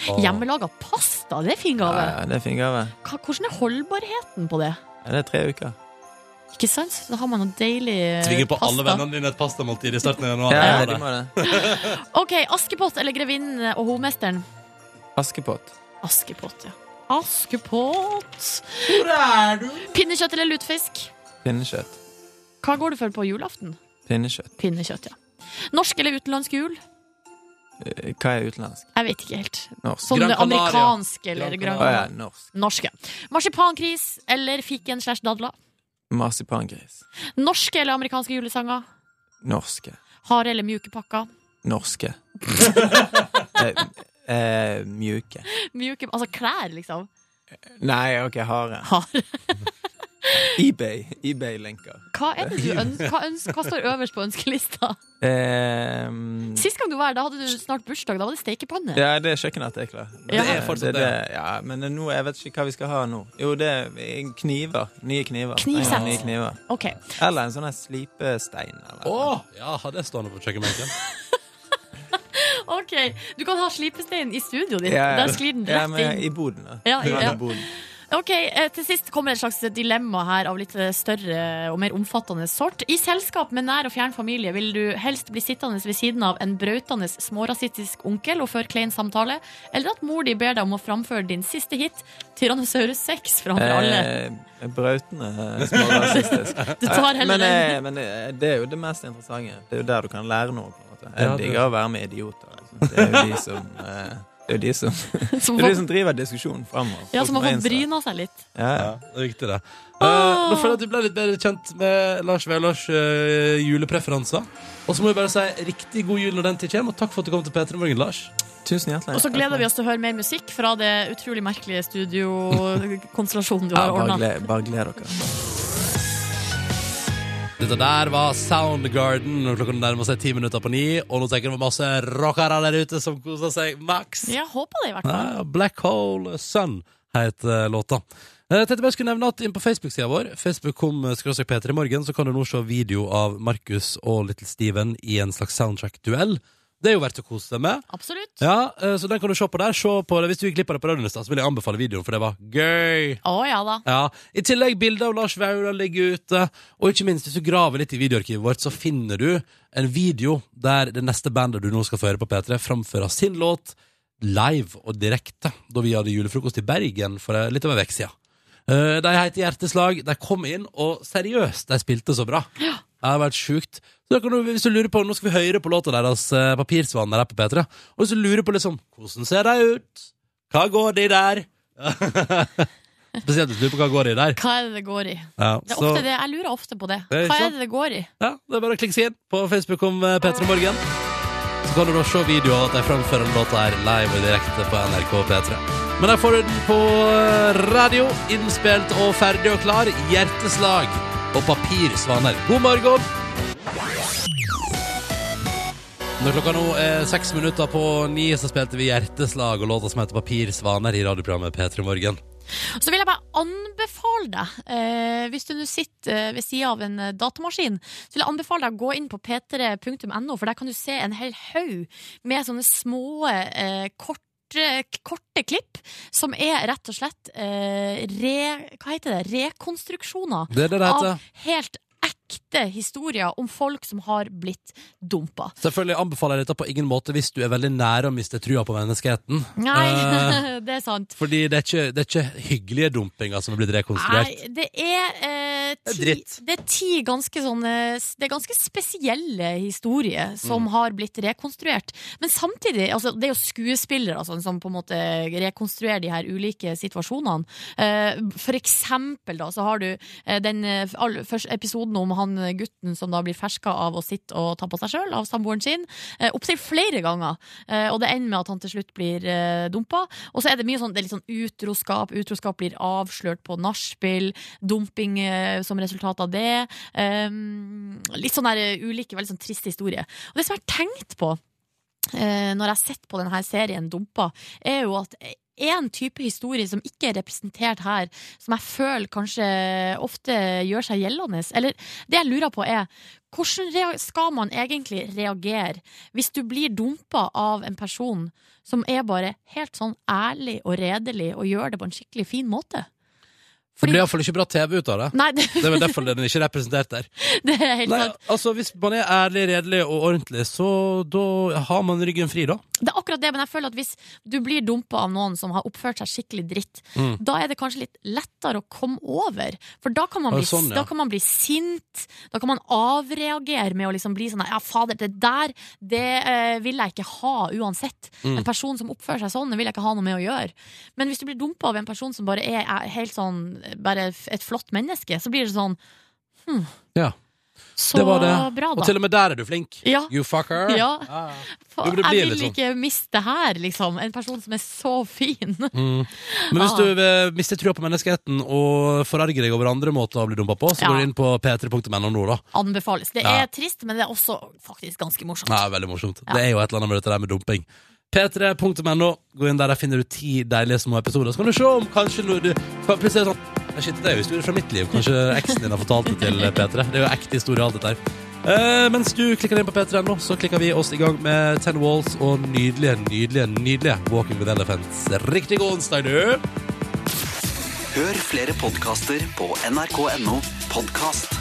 Hjemmelaga pasta, det er fin
ja
gave.
ja, det er fin gave.
Hva- Hvordan er holdbarheten på det?
Ja, det er tre uker.
Ikke sant? Så da har man noe deilig eh,
Tvinger på alle
pasta.
vennene dine et pastamåltid i starten av januar.
Ja,
Ja,
de
det.
må det.
Ok, Askepott eller Grevinnen og hovmesteren?
Askepott.
Askepott, ja. Askepott. Pinnekjøtt eller lutefisk?
Pinnekjøtt.
Hva går du for på julaften?
Pinnekjøtt.
Pinnekjøtt, ja. Norsk eller utenlandsk jul?
Eh, Hva er utenlandsk?
Jeg vet ikke helt.
Norsk.
Sånn
Gran Canaria.
amerikansk eller
Gran
Gran
Å ja,
Canaria.
norsk.
Norske. Marsipankris eller fiken slash dadler?
Marsipangris.
Norske eller amerikanske julesanger?
Norske.
Harde eller mjuke pakker?
Norske. eh, eh, mjuke.
Mjuke, altså klær, liksom.
Nei, OK, harde.
Harde.
eBay. eBay-lenker.
Hva er det du ønsker? Hva, ønsker, hva står øverst på ønskelista?
Eh,
Sist gang du var her, da hadde du snart bursdag. Da var det stekepanne.
Ja, det er kjøkkenartikler.
Ja.
Det er fortsatt
det, det. Ja, men nå, jeg vet ikke hva vi skal ha nå. Jo, det er kniver. Nye kniver.
Knivsett.
Ja, Nye kniver.
Ok,
Eller en sånn her slipestein. Eller.
Åh, ja, ha det stående på kjøkkenbenken.
ok Du kan ha slipestein i studioet ditt.
Ja, ja.
Der sklir den
Ja,
rett
men
inn.
i boden, da.
Ja,
Den
ja.
i boden.
Ok, eh, Til sist kommer et slags dilemma her av litt eh, større og mer omfattende sort. I selskap med nær og fjern familie vil du helst bli sittende ved siden av en brautende smårasistisk onkel og føre klein samtale, eller at mor di ber deg om å framføre din siste hit, Tyrannosaurus 6, framfor alle.
Eh, brautende eh, smårasistisk.
Du tar heller
men,
den.
eh, men eh, det er jo det mest interessante. Det er jo der du kan lære noe. på en måte Jeg
Ja, det-
digger å være med idioter. Liksom. Det er jo de som eh, Det er jo de som,
Som
eh, det sånn er de
får-
som driver diskusjonen framover.
Ja, som
Folk
har
må
fått
innse-
bryna seg litt.
Ja, ja.
Ja, det er viktig, det. Eh, nå føler jeg at vi ble litt bedre kjent med Lars Vælars eh, julepreferanser. Og så må vi bare si riktig god jul når den tid kommer, og takk for at du kom til P3 Morgen, Lars.
Tusen hjertelig.
Og så gleder vi oss til å høre mer musikk fra det utrolig merkelige studiokonstellasjonen du
Ja,
har
bare
ordna.
gled, bare gled dere.
Dette der var Soundgarden. når Klokka nærmer seg ti minutter på ni, og nå tenker jeg det var masse rockere der ute som koser seg maks.
Jeg håper det, i hvert fall.
Ja, Black Hole Sun heter låta. Eh, Tenkte bare jeg skulle nevne at inn på Facebook-sida vår Facebook kom skråstrek Peter i morgen, så kan du nå se video av Markus og Little Steven i en slags soundtrack-duell. Det er jo verdt å kose seg med.
Absolutt.
Ja, eh, så den kan du se på der. Se på det. Hvis du gikk glipp av det på radioen i stad, så vil jeg anbefale videoen, for det var gøy.
Å ja da.
Ja. I tillegg bilder av Lars Vaular ligger ute. Og ikke minst, hvis du graver litt i videoarkivet vårt, så finner du en video der det neste bandet du nå skal få høre på P3, framfører sin låt live og direkte da vi hadde julefrokost i Bergen for eh, litt over en uke siden. Eh, De heter Hjerteslag. De kom inn, og seriøst, de spilte så bra. Det har vært sjukt. Så da kan du, hvis du lurer på, Nå skal vi høre på låta deres, eh, 'Papirsvanen', her på P3. Og hvis du lurer på liksom, hvordan ser de ut, hva går de der? Spesielt hvis du lurer på hva går de der.
Hva er det det går i?
Ja,
Det er
så-
ofte det, jeg lurer ofte på det.
Det er ikke
Hva er
sant?
det det går i?
Ja, det er bare å klikke seg inn på Facebook om eh, P3 Morgen. Så kan du da se videoer at de framfører den låta her live og direkte på NRK P3. Men der får du den på eh, radio, innspilt og ferdig og klar. Hjerteslag og papirsvaner. God morgen! Når klokka nå er seks minutter på ni, så spilte vi Hjerteslag og låta som heter Papirsvaner i radioprogrammet P3 Morgen.
Så vil jeg bare anbefale deg, eh, hvis du nå sitter eh, ved sida av en eh, datamaskin, så vil jeg anbefale deg å gå inn på p3.no, for der kan du se en hel haug med sånne små eh, kort eh, k- Korte klipp som er rett og slett eh, re, hva heter det? rekonstruksjoner
Det er det det heter.
av helt ekte historier om folk som har blitt dumpa.
Selvfølgelig anbefaler jeg dette på ingen måte hvis du er veldig nære å miste trua på menneskeheten. Eh,
Nei, det er sant.
Fordi det er ikke, det er ikke hyggelige dumpinger som er blitt rekonstruert.
Nei, det er eh,
Det er
ti,
dritt.
det er ti ganske sånne Det er ganske spesielle historier som
Mm.
har blitt rekonstruert. Men samtidig, altså, det er jo skuespillere altså, som på en måte rekonstruerer de her ulike situasjonene. Eh, for eksempel da, så har du eh, den eh, all, første episoden om han eh, gutten som da blir ferska av å sitte og ta på seg sjøl av samboeren sin. Eh, Opptil flere ganger. Eh, Og det ender med at han til slutt blir eh, dumpa. Og så er det mye sånn, det er litt sånn utroskap. Utroskap blir avslørt på nachspiel. Dumping eh, som resultat av det. Um, litt sånn der eh, ulike, veldig sånn triste historier. Og det som jeg har tenkt på eh, når jeg har sett på denne serien Dumpa, er jo at en type historie som ikke er representert her, som jeg føler kanskje ofte gjør seg gjeldende. Eller det jeg lurer på, er hvordan rea- skal man egentlig reagere hvis du blir dumpa av en person som er bare helt sånn ærlig og redelig og gjør det på en skikkelig fin måte?
Det blir iallfall ikke bra TV ut av det.
Nei, det,
Det er vel derfor den ikke er representert der.
det er helt
Nei,
sant.
altså Hvis man er ærlig, redelig og ordentlig, så da har man ryggen fri, da.
Det er akkurat det, men jeg føler at hvis du blir dumpa av noen som har oppført seg skikkelig dritt,
Mm.
da er det kanskje litt lettere å komme over. For da kan man
Ah,
bli,
sånn, ja.
da kan man bli sint, da kan man avreagere med å liksom bli sånn Ja, fader, det der det eh, vil jeg ikke ha uansett.
Mm.
En person som oppfører seg sånn, det vil jeg ikke ha noe med å gjøre. Men hvis du blir dumpa av en person som bare er, er helt sånn Bare f- et flott menneske, så blir det sånn hm,
Ja.
Så
det var det.
bra, da.
Og til og med der er du flink.
Ja.
You fucker.
Ja.
Jo,
Fa-
men det blir
Jeg
litt
vil
sånn.
ikke miste her, liksom. En person som er så fin.
Mm. Men hvis
Ah.
du eh, mister trua på menneskeheten og forarger deg over andre måter å bli dumpa på, så
Ja.
går du inn på p3.no nå, da.
Anbefales. Det
Ja.
er trist, men det er også faktisk ganske morsomt.
Ja, veldig morsomt. Det er jo et eller annet med dette der med dumping. P3.no. Gå inn der, der finner du ti deilige små episoder. Så kan du se om kanskje noe du kan plutselig er sånn «Ja, Shit, det er jo historier fra mitt liv. Kanskje eksen din har fortalt det til P3. Det er jo ekte historie, alt dette her. Eh, mens du klikker inn på P3.no, så klikker vi oss i gang med Ten Walls og nydelige, nydelige, nydelige Walking with Elephants. Riktig god onsdag, du!
Hør flere podkaster på nrk.no podkast.